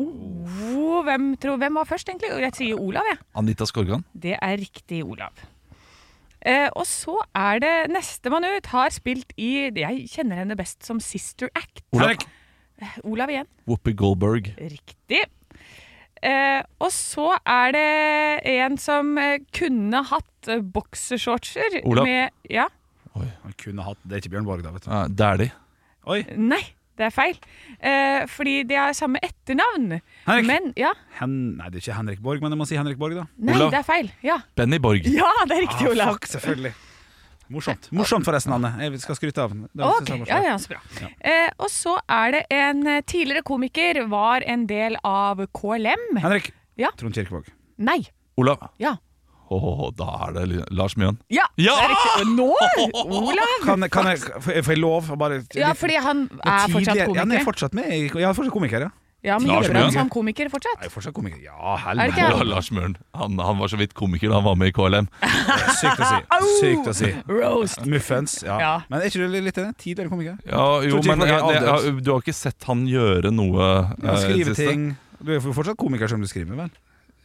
Speaker 4: Oh, hvem, tror, hvem var først, egentlig? Jeg sier Olav, jeg.
Speaker 2: Anita Skorgan.
Speaker 4: Det er riktig, Olav. Eh, og så er det nestemann ut. Har spilt i Jeg kjenner henne best som Sister Act.
Speaker 3: Henrik,
Speaker 4: Olav igjen.
Speaker 2: Whoopi Goldberg.
Speaker 4: Riktig. Eh, og så er det en som eh, kunne hatt eh, boksershortser
Speaker 2: Olav.
Speaker 4: med Ja.
Speaker 3: Han kunne hatt Det er ikke Bjørn Borg, da, vet du.
Speaker 2: Eh, Dæhlie.
Speaker 3: Oi,
Speaker 4: Nei, det er feil. Eh, fordi de har samme etternavn.
Speaker 3: Henrik.
Speaker 4: Men Ja.
Speaker 3: Hen... Nei, det er ikke Henrik Borg, men jeg må si Henrik Borg, da.
Speaker 4: Nei,
Speaker 2: Olav.
Speaker 4: det er feil. Ja,
Speaker 2: Benny Borg.
Speaker 4: ja det er riktig, Olav.
Speaker 3: Ah, Fuck, selvfølgelig. Morsomt, Morsomt forresten, Anne. Jeg skal skryte av den. Det var-
Speaker 4: Ok, ja, ja, så bra. Eh, og så er det en eh, tidligere komiker, var en del av KLM.
Speaker 3: Henrik.
Speaker 4: Ja.
Speaker 3: Trond Kirkevåg.
Speaker 4: Nei.
Speaker 2: Olav.
Speaker 4: Ja.
Speaker 2: Åh, da er det li- Lars Mjøen.
Speaker 4: Ja!
Speaker 2: Ja!
Speaker 4: Det er riktig. Nå, Olav!
Speaker 3: Kan, kan jeg, får jeg- får jeg lov å bare
Speaker 4: Ja, fordi han er fortsatt
Speaker 3: Ja, han er
Speaker 4: komiker.
Speaker 3: fortsatt med. i- Ja, fortsatt komiker, ja.
Speaker 4: Ja, men
Speaker 2: Lars
Speaker 4: jobber
Speaker 2: Mjøen.
Speaker 4: han som komiker fortsatt?
Speaker 3: Jeg er fortsatt komiker. Ja,
Speaker 4: Er det ikke
Speaker 3: helvete.
Speaker 4: han?
Speaker 2: Åh, Lars Mjøen. Han, han var så vidt komiker da han var med i KLM.
Speaker 3: Sykt å si. Sykt å si.
Speaker 4: Roast!
Speaker 3: Muffens. Ja.
Speaker 4: Ja.
Speaker 3: Men er ikke du litt det? Tidligere komiker?
Speaker 2: Ja, jo,
Speaker 3: Tror ikke
Speaker 2: men
Speaker 3: vi får
Speaker 2: ja,
Speaker 3: det
Speaker 2: det, ja,
Speaker 3: avdømt.
Speaker 2: du har ikke sett han gjøre noe
Speaker 3: Ja,
Speaker 2: eh,
Speaker 3: skrive
Speaker 2: det siste?
Speaker 3: ting. Du er jo fortsatt komiker som du skriver, vel?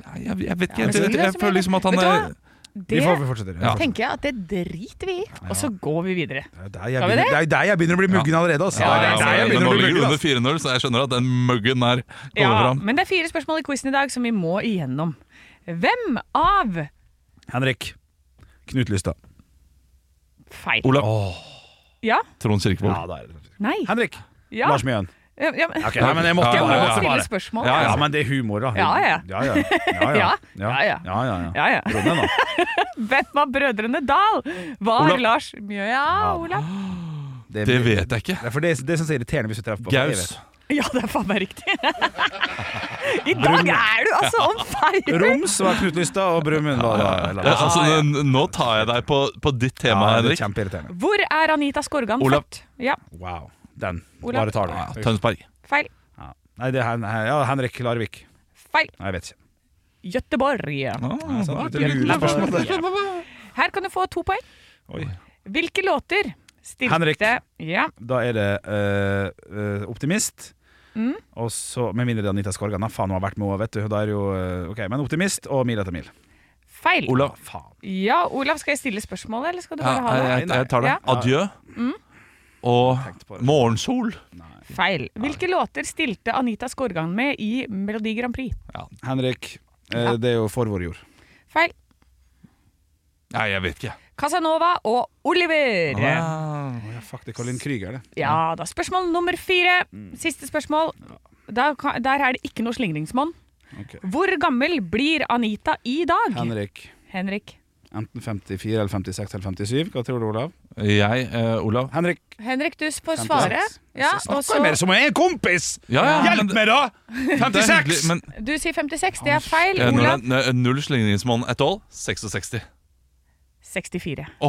Speaker 2: Nei, jeg, jeg vet ikke.
Speaker 4: men
Speaker 2: Jeg, jeg,
Speaker 4: skriver
Speaker 2: jeg
Speaker 4: som
Speaker 2: føler
Speaker 4: jeg-
Speaker 2: liksom at han
Speaker 4: Vet du hva?
Speaker 2: er
Speaker 3: Vi
Speaker 4: Det
Speaker 3: får vi fortsetter.
Speaker 2: Ja.
Speaker 4: tenker jeg at det driter vi i, og så går vi videre.
Speaker 3: Det er der jeg
Speaker 4: Skal vi
Speaker 3: begynner, det er jo der jeg begynner å bli muggen allerede. Altså.
Speaker 4: Ja,
Speaker 3: det
Speaker 4: ja,
Speaker 3: er der
Speaker 4: ja,
Speaker 3: jeg
Speaker 2: Den
Speaker 3: begynner å bli
Speaker 2: ligger
Speaker 3: muggen
Speaker 2: under 4-0,
Speaker 3: altså.
Speaker 2: så jeg skjønner at den muggen der kommer
Speaker 4: Ja,
Speaker 2: fram.
Speaker 4: men det er fire spørsmål i quizen i dag som vi må igjennom. Hvem av
Speaker 3: Henrik. Knut Lystad.
Speaker 4: Feil.
Speaker 2: Olav
Speaker 4: Ja?
Speaker 2: Trond Kirkevåg.
Speaker 3: Ja, det er det.
Speaker 4: Nei?
Speaker 3: Henrik.
Speaker 4: Ja?
Speaker 3: Lars Mjøen.
Speaker 4: Ja, ja, men-
Speaker 3: Ok, nei, men jeg måtte
Speaker 2: Ja,
Speaker 3: bare.
Speaker 2: jeg må
Speaker 3: jeg måtte
Speaker 4: stille
Speaker 3: bare.
Speaker 4: spørsmål.
Speaker 3: Ja, ja, men det er humor, da.
Speaker 4: Ja, ja.
Speaker 3: Ja, ja. Ja, ja.
Speaker 4: Ja, ja.
Speaker 3: ja, ja, ja.
Speaker 4: Ja, ja.
Speaker 3: Ronny, da.
Speaker 4: Hvem var brødrene Dal? Var
Speaker 2: Olav.
Speaker 4: Lars Mjøa ja, Olav?
Speaker 2: Det vet jeg ikke.
Speaker 3: Det er for det, det synes jeg er irriterende hvis du treffer på for jeg
Speaker 2: Gaus.
Speaker 3: vet.
Speaker 4: Ja, det er faen meg riktig. I dag er du altså on fire!
Speaker 3: Roms var Knut Lystad, og Brumund var da.
Speaker 2: Ja, altså, n- Nå tar jeg deg på, på ditt tema,
Speaker 3: Ja, det er
Speaker 2: Henrik.
Speaker 3: kjempeirriterende.
Speaker 4: Hvor er Anita Skorgan
Speaker 2: Olav.
Speaker 4: født? Ja,
Speaker 3: Wow. Den.
Speaker 4: Olav.
Speaker 3: Bare tar
Speaker 2: Ja,
Speaker 3: den.
Speaker 2: Tønsberg.
Speaker 4: feil.
Speaker 3: Ja. Nei, det er Hen- ja, Henrik Larvik.
Speaker 4: Feil.
Speaker 3: Nei, jeg vet ikke.
Speaker 4: Gøteborg.
Speaker 2: Ah,
Speaker 3: Så,
Speaker 2: sant.
Speaker 3: det er lure spørsmål, det.
Speaker 4: Her kan du få to poeng.
Speaker 3: Oi.
Speaker 4: Hvilke låter stilte
Speaker 3: Henrik.
Speaker 4: Ja,
Speaker 3: Da er det eh, eh, Optimist.
Speaker 4: Mm.
Speaker 3: Og så, Med mindre det er Anita Skorgan. Da faen, hun har vært med òg, vet du. Da er det jo eh, Ok, men Optimist og Mil etter mil.
Speaker 4: feil.
Speaker 2: Olav.
Speaker 3: Faen.
Speaker 4: Ja, Olav, skal jeg stille spørsmålet, eller skal du
Speaker 2: Ja,
Speaker 4: bare ha
Speaker 2: jeg,
Speaker 4: det?
Speaker 2: jeg, jeg tar Mm. det.
Speaker 4: Ja.
Speaker 2: Adjø.
Speaker 3: tenkte på
Speaker 2: Og
Speaker 3: det.
Speaker 2: Morgensol.
Speaker 4: Feil. Hvilke låter stilte Anita Skorgan med i Melodi Grand Prix?
Speaker 3: Henrik, eh,
Speaker 4: Ja.
Speaker 3: det er jo for vår jord.
Speaker 4: Feil.
Speaker 2: Nei, jeg vet ikke.
Speaker 4: Casanova og Oliver.
Speaker 2: Ah.
Speaker 3: Ja, fuck, det er Colin Krüger, det.
Speaker 4: Ja da. Spørsmål nummer fire. Siste spørsmål. Da, kan- der er det ikke noe slingringsmonn.
Speaker 3: Ok.
Speaker 4: Hvor gammel blir Anita i dag?
Speaker 3: Henrik.
Speaker 4: Henrik.
Speaker 3: Enten 54 eller 56 eller 57. Hva tror du, Olav?
Speaker 2: Jeg, eh, Olav.
Speaker 3: Henrik.
Speaker 4: Henrik, du får
Speaker 3: 56.
Speaker 4: svare. Ja,
Speaker 3: Så
Speaker 4: og
Speaker 3: Snakker jeg med deg
Speaker 4: så,
Speaker 3: som om jeg er en kompis!
Speaker 2: Ja, ja, men
Speaker 3: Hjelp
Speaker 2: det-
Speaker 3: meg, da!
Speaker 2: Det er hyggelig,
Speaker 3: 56!
Speaker 2: men
Speaker 4: du sier 56. Det er feil.
Speaker 2: eh,
Speaker 4: Olav?
Speaker 2: null- ne- null slingringsmonn et all. 66.
Speaker 4: 64.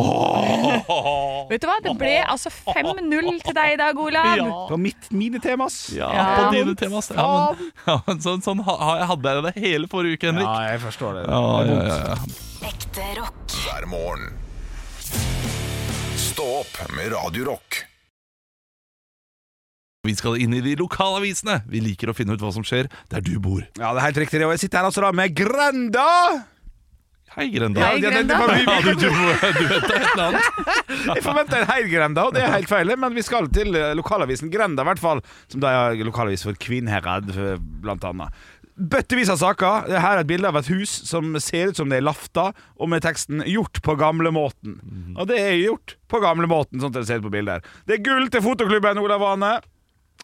Speaker 4: Vet du hva? Det ble altså 5-0 til deg i dag, Olav.
Speaker 3: Det var mitt mine tema, ass.
Speaker 2: Ja,
Speaker 4: Ja.
Speaker 2: på dine tema. ass. Ja, men, ja, men sånn, sånn ha- ha- jeg hadde jeg det hele forrige uke, Henrik.
Speaker 3: Ja, jeg forstår det.
Speaker 2: Ja,
Speaker 3: det
Speaker 2: ja,
Speaker 3: er vondt.
Speaker 2: ja,
Speaker 5: Ekte rock.
Speaker 1: hver morgen. Stå opp med Radio Rock.
Speaker 2: Vi skal inn i de lokalavisene. Vi liker å finne ut hva som skjer der du bor.
Speaker 3: ja, det er helt riktig. det. Og jeg sitter her altså da med Grenda!
Speaker 2: Hei, Grenda.
Speaker 4: Hei,
Speaker 3: Ja, det- det- det-
Speaker 4: Grenda.
Speaker 2: Ja, du, du, du vet det, et eller annet.
Speaker 3: Jeg forventa en Heirgrenda, og det er helt feil. Men vi skal til eh, lokalavisen Grenda, i hvert fall. Som da er lokalavis for Kvinnherad, eh, blant annet. Bøttevis av saker. Det Her er et bilde av et hus som ser ut som det er lafta, og med teksten 'Gjort på gamlemåten'.
Speaker 2: Mhm.
Speaker 3: Og det er gjort på gamlemåten, sånn at det ser ut på bildet her. Det er gull til fotoklubben, Olav Ane.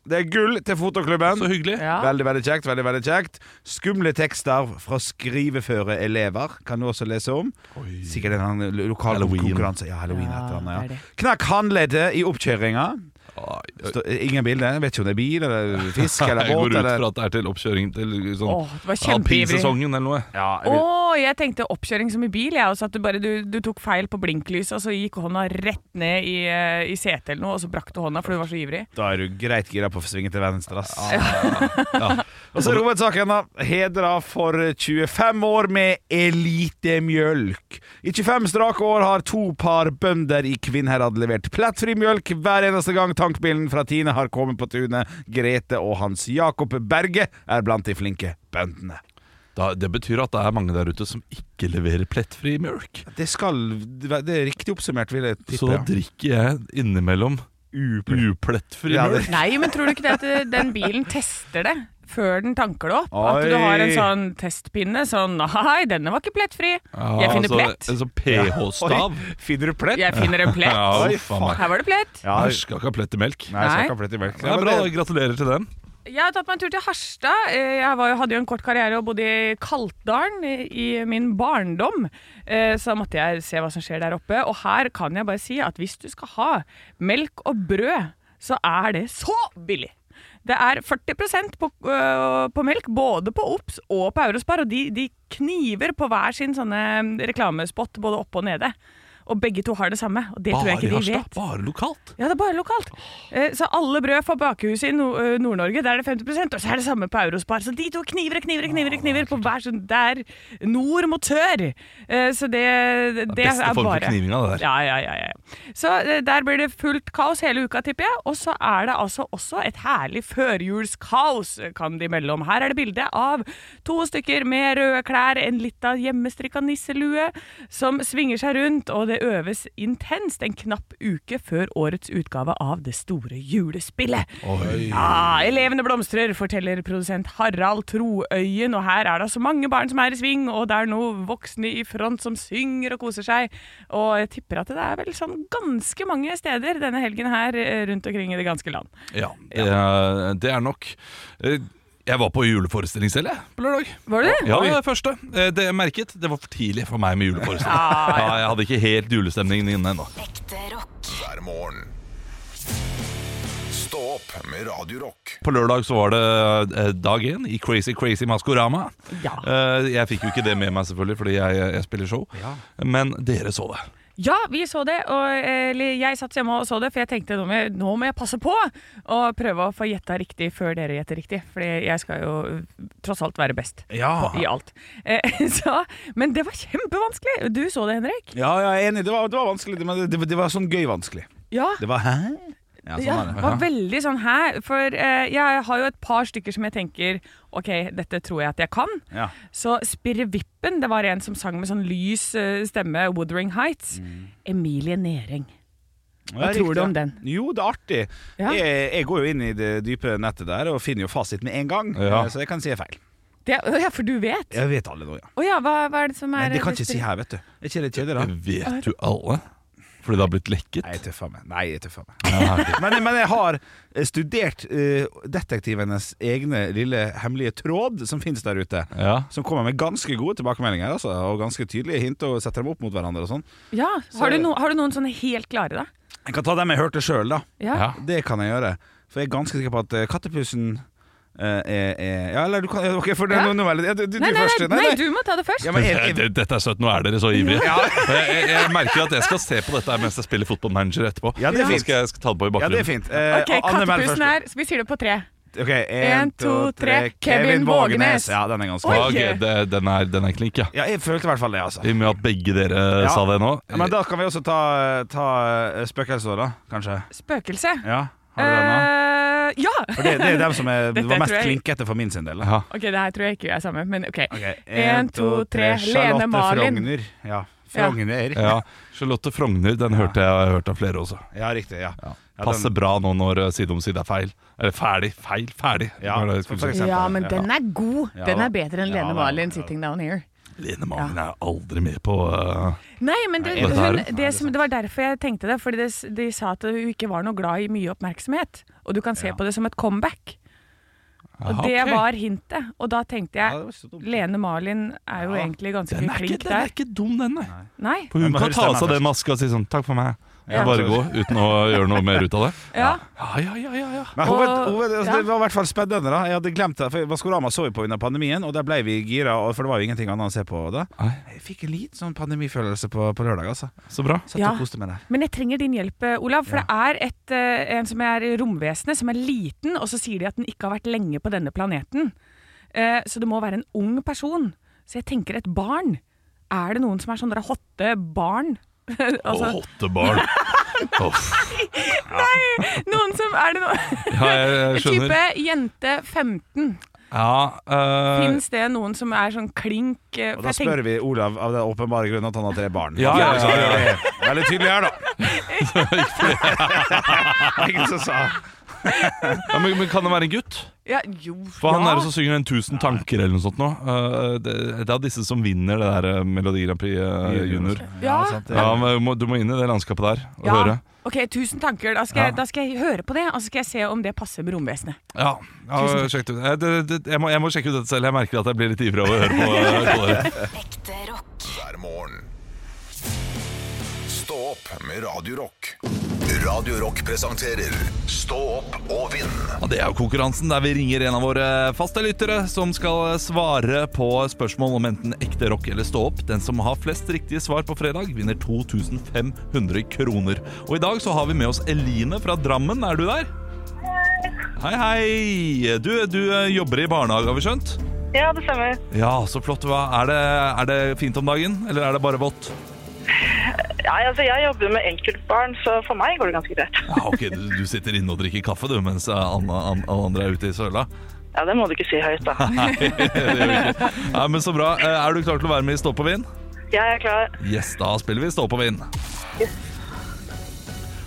Speaker 3: Det er gull til fotoklubben.
Speaker 2: Så hyggelig.
Speaker 4: Ja.
Speaker 3: Veldig, veldig kjekt. veldig, veldig kjekt Skumle tekster fra skriveføre elever kan du også lese om. Sikkert en eller annen lokal
Speaker 2: Halloween.
Speaker 3: konkurranse. Ja, Halloween
Speaker 4: Ja,
Speaker 3: et eller annet,
Speaker 4: det er
Speaker 3: ja.
Speaker 4: det.
Speaker 3: Knakk håndleddet i oppkjøringa.
Speaker 2: Ai,
Speaker 3: Stå- Ingen bilder. Jeg Vet ikke om det er bil eller fisk eller
Speaker 2: Jeg går
Speaker 3: båt.
Speaker 2: ut
Speaker 3: Eller...
Speaker 2: fra at det er til oppkjøring til
Speaker 4: Åh,
Speaker 2: sånn
Speaker 4: det var kjempeivrig.
Speaker 2: alpinsesongen eller noe.
Speaker 3: Ja,
Speaker 4: Å,
Speaker 3: jeg vil...
Speaker 4: jeg tenkte oppkjøring som i bil. Jeg også, at du, bare, du, du tok feil på blinklyset, og så gikk hånda rett ned i, eh, i setet eller noe, og så brakk du hånda, for du var så ivrig.
Speaker 3: Da er du greit gira på å svinge til venstre. Ass. Og så hovedsaken, da. Hedra for 25 år med elitemjølk. I 25 strake år har to par bønder i Kvinnherad levert plettfri mjølk hver eneste gang tankbilen fra Tine har kommet på tunet. Grete og Hans Jakob Berge er blant de flinke bøndene.
Speaker 2: Da, det betyr at det er mange der ute som ikke leverer plettfri mjølk.
Speaker 3: Det, skal, det er riktig oppsummert, vil jeg
Speaker 2: Så da
Speaker 3: tippe. Ja.
Speaker 2: drikker jeg innimellom uplettfri
Speaker 3: Ja, det-
Speaker 2: mjølk.
Speaker 4: Nei, men tror du ikke det at eh, den bilen tester det før den tanker det opp? At du
Speaker 3: Oi.
Speaker 4: har en sånn testpinne sånn Nei, denne var ikke plettfri. Jeg finner
Speaker 3: altså,
Speaker 4: plett.
Speaker 3: eh,
Speaker 2: En sånn pH-stav.
Speaker 3: Oi, finner du plett?
Speaker 4: Jeg finner en
Speaker 2: Ja,
Speaker 4: plett.
Speaker 3: Oi,
Speaker 2: faen
Speaker 3: faen.
Speaker 2: meg.
Speaker 4: Her var det plett.
Speaker 3: Ja,
Speaker 2: Nei,
Speaker 3: nei,
Speaker 2: skal ikke ha plett i melk.
Speaker 3: jeg skal ikke ha plett i melk.
Speaker 2: Det er bra, gratulerer til den.
Speaker 4: Jeg har tatt meg en tur til Harstad. Eh, Jeg var, jo- hadde jo en kort karriere og bodde i Kaltdalen i i min barndom. Eh, Så da måtte jeg se hva som skjer der oppe. Og her kan jeg bare si at hvis du skal ha melk og brød, så er det så billig. Det er 40 på, øh, på melk, både på Ops og på Eurospar. Og de, de kniver på hver sin sånne reklamespott både oppe og nede. Og begge to har det samme. Og det tror jeg
Speaker 2: Bare i
Speaker 4: ikke de
Speaker 2: Harstad.
Speaker 4: vet.
Speaker 2: Bare lokalt.
Speaker 4: Ja, det er bare lokalt. Eh, Så alle brød fra bakehuset i No- eh, Nord-Norge, der er det 50 og så er det samme på Eurospar. Så de to kniver og kniver og kniver, og kniver på hver sånn der nord mot sør. Eh, Så det, det,
Speaker 2: Det er beste
Speaker 4: er
Speaker 2: form for
Speaker 4: bare
Speaker 2: knivinga, det der.
Speaker 4: ja, ja, ja, ja. Så eh, der blir det fullt kaos hele uka, tipper jeg. Og så er det altså også et herlig førjulskaos, eh, kan de melde om. Her er det bilde av to stykker med røde klær, en lita hjemmestrikka nisselue, som svinger seg rundt, og det øves intenst en knapp uke før årets utgave av Det store julespillet. Ja, elevene blomstrer, forteller produsent Harald Troøyen. Og her er det altså mange barn som er i sving, og det er noen voksne i front som synger og koser seg. Og jeg tipper at det er vel sånn ganske mange steder denne helgen her eh, rundt omkring i det ganske land.
Speaker 2: Ja, det er, det er nok. Eh, Jeg var på juleforestilling selv, jeg, på lørdag.
Speaker 4: Var det det?
Speaker 2: Ja, det første. Eh, Det jeg merket, det var for tidlig for meg med juleforestilling.
Speaker 4: Ah,
Speaker 2: Ja, jeg hadde ikke helt julestemningen inne ennå.
Speaker 5: Ekte rock.
Speaker 1: hver morgen. Stå opp med Radio Rock.
Speaker 2: På lørdag så var det eh, dag én i Crazy Crazy Maskorama.
Speaker 4: Ja.
Speaker 2: Eh, Jeg fikk jo ikke det med meg, selvfølgelig, fordi jeg, jeg spiller show. Men dere så det.
Speaker 4: Ja, vi så det, og eh, eller, jeg satt hjemme og så det, for jeg tenkte nå må jeg, nå må jeg passe på og prøve å få gjetta riktig før dere gjetter riktig. Fordi jeg skal jo eh, tross alt være best
Speaker 3: Ja.
Speaker 4: på, i alt. Eh, så, men det var kjempevanskelig! Du så det, Henrik?
Speaker 3: Ja, jeg er enig. Det var, det var vanskelig, men det, det, det var sånn gøy vanskelig.
Speaker 4: Ja,
Speaker 3: Det var hæ? Ja, sånn
Speaker 4: ja,
Speaker 3: er det.
Speaker 4: var veldig sånn her. For eh, jeg har jo et par stykker som jeg tenker OK, dette tror jeg at jeg kan.
Speaker 3: Ja.
Speaker 4: Så Spirrevippen, det var en som sang med sånn lys eh, stemme, Woodring Heights.
Speaker 3: Mm.
Speaker 4: Emilie Nering. Hva
Speaker 3: Ja,
Speaker 4: tror
Speaker 3: riktig,
Speaker 4: du
Speaker 3: ja.
Speaker 4: om den?
Speaker 3: Jo, det er artig.
Speaker 4: Ja.
Speaker 3: Jeg, jeg går jo inn i det dype nettet der og finner jo fasit med en gang,
Speaker 2: Ja.
Speaker 3: eh, så jeg kan si jeg er feil.
Speaker 4: Det, å ja, for du vet? Å
Speaker 3: Jeg vet alle nå, ja.
Speaker 4: ja, hva, hva er det som er
Speaker 3: Men det kan jeg
Speaker 4: det
Speaker 3: ikke si her, vet du. Er ikke det kjedelig, da?
Speaker 2: Vet du alle? Fordi det har blitt lekket?
Speaker 3: Nei, jeg tøffer meg. Nei, jeg tøffer meg. men, men jeg har studert eh, detektivenes egne lille hemmelige tråd som finnes der ute.
Speaker 2: Ja.
Speaker 3: Som kommer med ganske gode tilbakemeldinger altså, og ganske tydelige hint og setter dem opp mot hverandre. og sånn
Speaker 4: spirre- Ja, har du, no, har du noen sånne helt klare, da?
Speaker 3: Jeg kan ta dem jeg hørte sjøl, da.
Speaker 4: Ja.
Speaker 2: Ja.
Speaker 3: Det kan jeg gjøre. For jeg er ganske sikker på at eh, kattepusen eh, er, er Ja, eller du kan Ok, for det,
Speaker 4: Ja.
Speaker 3: nå, nå, er det- ja, du, du,
Speaker 4: Nei,
Speaker 3: du
Speaker 4: nei,
Speaker 3: først.
Speaker 4: nei, du må ta det først.
Speaker 3: Ja, men jeg, jeg,
Speaker 2: Det- Dette er søtt, nå er dere så ivrige. Jeg, jeg, jeg merker at jeg skal se på dette her mens jeg spiller Football Manager etterpå.
Speaker 3: Ja, det er
Speaker 2: Så
Speaker 3: fint.
Speaker 2: skal jeg skal ta det på i
Speaker 3: ja, det
Speaker 2: bakgrunnen.
Speaker 3: er fint. Eh,
Speaker 4: OK,
Speaker 3: Anne Mæhl
Speaker 4: Kattepusen
Speaker 3: først.
Speaker 4: her. Så vi sier det på tre.
Speaker 3: Ok,
Speaker 4: En, to, tre. Kevin Vågenes.
Speaker 3: Ja, den er ganske
Speaker 4: Oi.
Speaker 2: Ja, ok, det, den, er, den er klink, ja.
Speaker 3: Ja, jeg følte i hvert fall det, altså.
Speaker 2: I og med at begge dere
Speaker 3: Ja.
Speaker 2: sa det nå.
Speaker 3: Ja, men da kan vi også ta, ta eh, spøkelser, da, kanskje.
Speaker 4: Spøkelse.
Speaker 3: Ja, har du den nå?
Speaker 4: Eh, ja!
Speaker 3: For det, det er dem som er,
Speaker 4: Dette
Speaker 3: var mest
Speaker 4: tror jeg-
Speaker 3: klinkete for min sin del. da.
Speaker 2: Ja.
Speaker 4: OK, det her tror jeg ikke vi er sammen, men OK.
Speaker 3: Ok,
Speaker 4: En, to, tre. Lene
Speaker 3: Charlotte
Speaker 4: Marlin.
Speaker 3: Frogner. Ja, Frogner.
Speaker 2: Ja, Charlotte Frogner, den hørte jeg, jeg har hørt av flere også.
Speaker 3: Ja, riktig. Ja. Ja, den-
Speaker 2: Passer bra nå når eh, Side om side er feil. Eller ferdig, feil, ferdig.
Speaker 3: Ja,
Speaker 2: Hva er det jeg skulle
Speaker 3: for
Speaker 2: si?
Speaker 3: eksempel.
Speaker 4: Ja, men
Speaker 3: Ja.
Speaker 4: den er god.
Speaker 3: Ja,
Speaker 4: Den
Speaker 3: da.
Speaker 4: er bedre enn
Speaker 3: Ja,
Speaker 4: Lene
Speaker 3: da.
Speaker 4: Malin
Speaker 3: Ja.
Speaker 4: 'Sitting Down Here'.
Speaker 2: Lene Magen er aldri med på eh,
Speaker 4: Nei, men det,
Speaker 2: Nei, det er
Speaker 4: hun,
Speaker 2: det.
Speaker 4: det, som, det var derfor jeg tenkte det. Fordi det, s- de sa at hun ikke var noe glad i mye oppmerksomhet. Og du kan se
Speaker 3: Ja.
Speaker 4: på det som et comeback. Og
Speaker 2: aha,
Speaker 4: det
Speaker 2: ok.
Speaker 4: var hintet. Og da tenkte
Speaker 3: Ja, det
Speaker 4: jeg
Speaker 3: var ikke så dumt.
Speaker 4: Lene Malin er jo
Speaker 3: Ja.
Speaker 4: egentlig
Speaker 2: den
Speaker 4: ganske
Speaker 2: er, ikke,
Speaker 4: flink
Speaker 2: den er
Speaker 4: der.
Speaker 2: ikke dum, den, nei.
Speaker 4: Nei.
Speaker 2: For hun
Speaker 3: Men
Speaker 2: kan
Speaker 3: høres
Speaker 2: ta av
Speaker 3: den
Speaker 2: seg
Speaker 3: her
Speaker 2: den maska og si sånn 'takk for meg',
Speaker 3: Ja.
Speaker 2: og bare gå uten å gjøre noe mer ut av det.
Speaker 4: Ja.
Speaker 2: Ja, ja, ja, ja, ja.
Speaker 3: Men hoved,
Speaker 4: Og-
Speaker 3: hoved, altså,
Speaker 4: ja.
Speaker 3: Det var i hvert fall spennende. da Jeg hadde glemt det. For Maskorama så vi på under pandemien, og der ble vi gira. og- For det var jo ingenting annet å se på da.
Speaker 2: Nei,
Speaker 3: Jeg fikk en litt sånn pandemifølelse på, på lørdag, altså.
Speaker 2: så bra.
Speaker 3: Satt
Speaker 4: Ja.
Speaker 3: og koste meg der.
Speaker 4: Men jeg trenger din hjelp, eh, Olav. For det er et, eh, en som er i romvesenet, som er liten, og så sier de at den ikke har vært lenge på denne planeten. Eh, så det må være en ung person. Så jeg tenker et barn. Er det noen som er sånn dere hotte barn?
Speaker 2: Å,
Speaker 4: altså,
Speaker 2: hottebarn. Uff.
Speaker 4: nei! Noen som Er det noen
Speaker 2: Ja, jeg, jeg skjønner.
Speaker 4: Type jente 15.
Speaker 2: Ja, eh,
Speaker 4: Fins det noen som er sånn klink eh,
Speaker 3: Og
Speaker 4: for
Speaker 3: da
Speaker 4: jeg
Speaker 3: spør vi Olav av den åpenbare grunnen at han har tre barn.
Speaker 2: Ja, ja, ja, ja.
Speaker 3: Det er Veldig tydelig her, da. Ingen som sa
Speaker 2: ja, men, men kan det være en gutt?
Speaker 4: ja, jo,
Speaker 2: For han
Speaker 4: ja.
Speaker 2: er jo som synger en 1000 tanker eller noe sånt nå. Eh, det, det er disse som vinner det der eh, Melodi Grand Prix eh, junior.
Speaker 4: Ja.
Speaker 3: sant, det.
Speaker 2: Ja, men du må- du må inn i det landskapet der og
Speaker 4: Ja.
Speaker 2: høre.
Speaker 4: Ok, tusen tanker. Da skal, jeg,
Speaker 2: Ja.
Speaker 4: da skal jeg høre på det, og så skal jeg se om det passer med romvesenet.
Speaker 2: Ja, ja sjekk det ut. Eh, det- det- Jeg, må, jeg må sjekke ut dette selv. Jeg merker at jeg blir litt ivrig av å høre på. eh, på det.
Speaker 5: Ekte rock.
Speaker 1: hver morgen. Stå opp med Radio Rock. Radio Rock presenterer Stå opp og vinn.
Speaker 2: Ja, det er jo konkurransen der vi ringer en av våre faste lyttere som skal svare på spørsmål om enten ekte rock eller stå opp. Den som har flest riktige svar på fredag, vinner 2500 kroner. Og i dag så har vi med oss Eline fra Drammen. Er du der? Hei, hei. Du, du eh, jobber i barnehage, har vi skjønt?
Speaker 7: Ja, det stemmer.
Speaker 2: Ja, så flott. Hva? Er, det, er det fint om dagen, eller er det bare vått?
Speaker 7: Nei, altså, jeg jobber med enkeltbarn, så for meg går det ganske greit.
Speaker 2: Ja, ok, du, du sitter inne og drikker kaffe, du, mens eh, an- an- alle andre er ute i søla.
Speaker 7: Ja, det må du ikke si høyt, da.
Speaker 2: det gjør vi ikke. Nei, men så bra. Eh, Er du klar til å være med i Stå på vind?
Speaker 7: Jeg er klar.
Speaker 2: Yes, da spiller vi Stå på vind.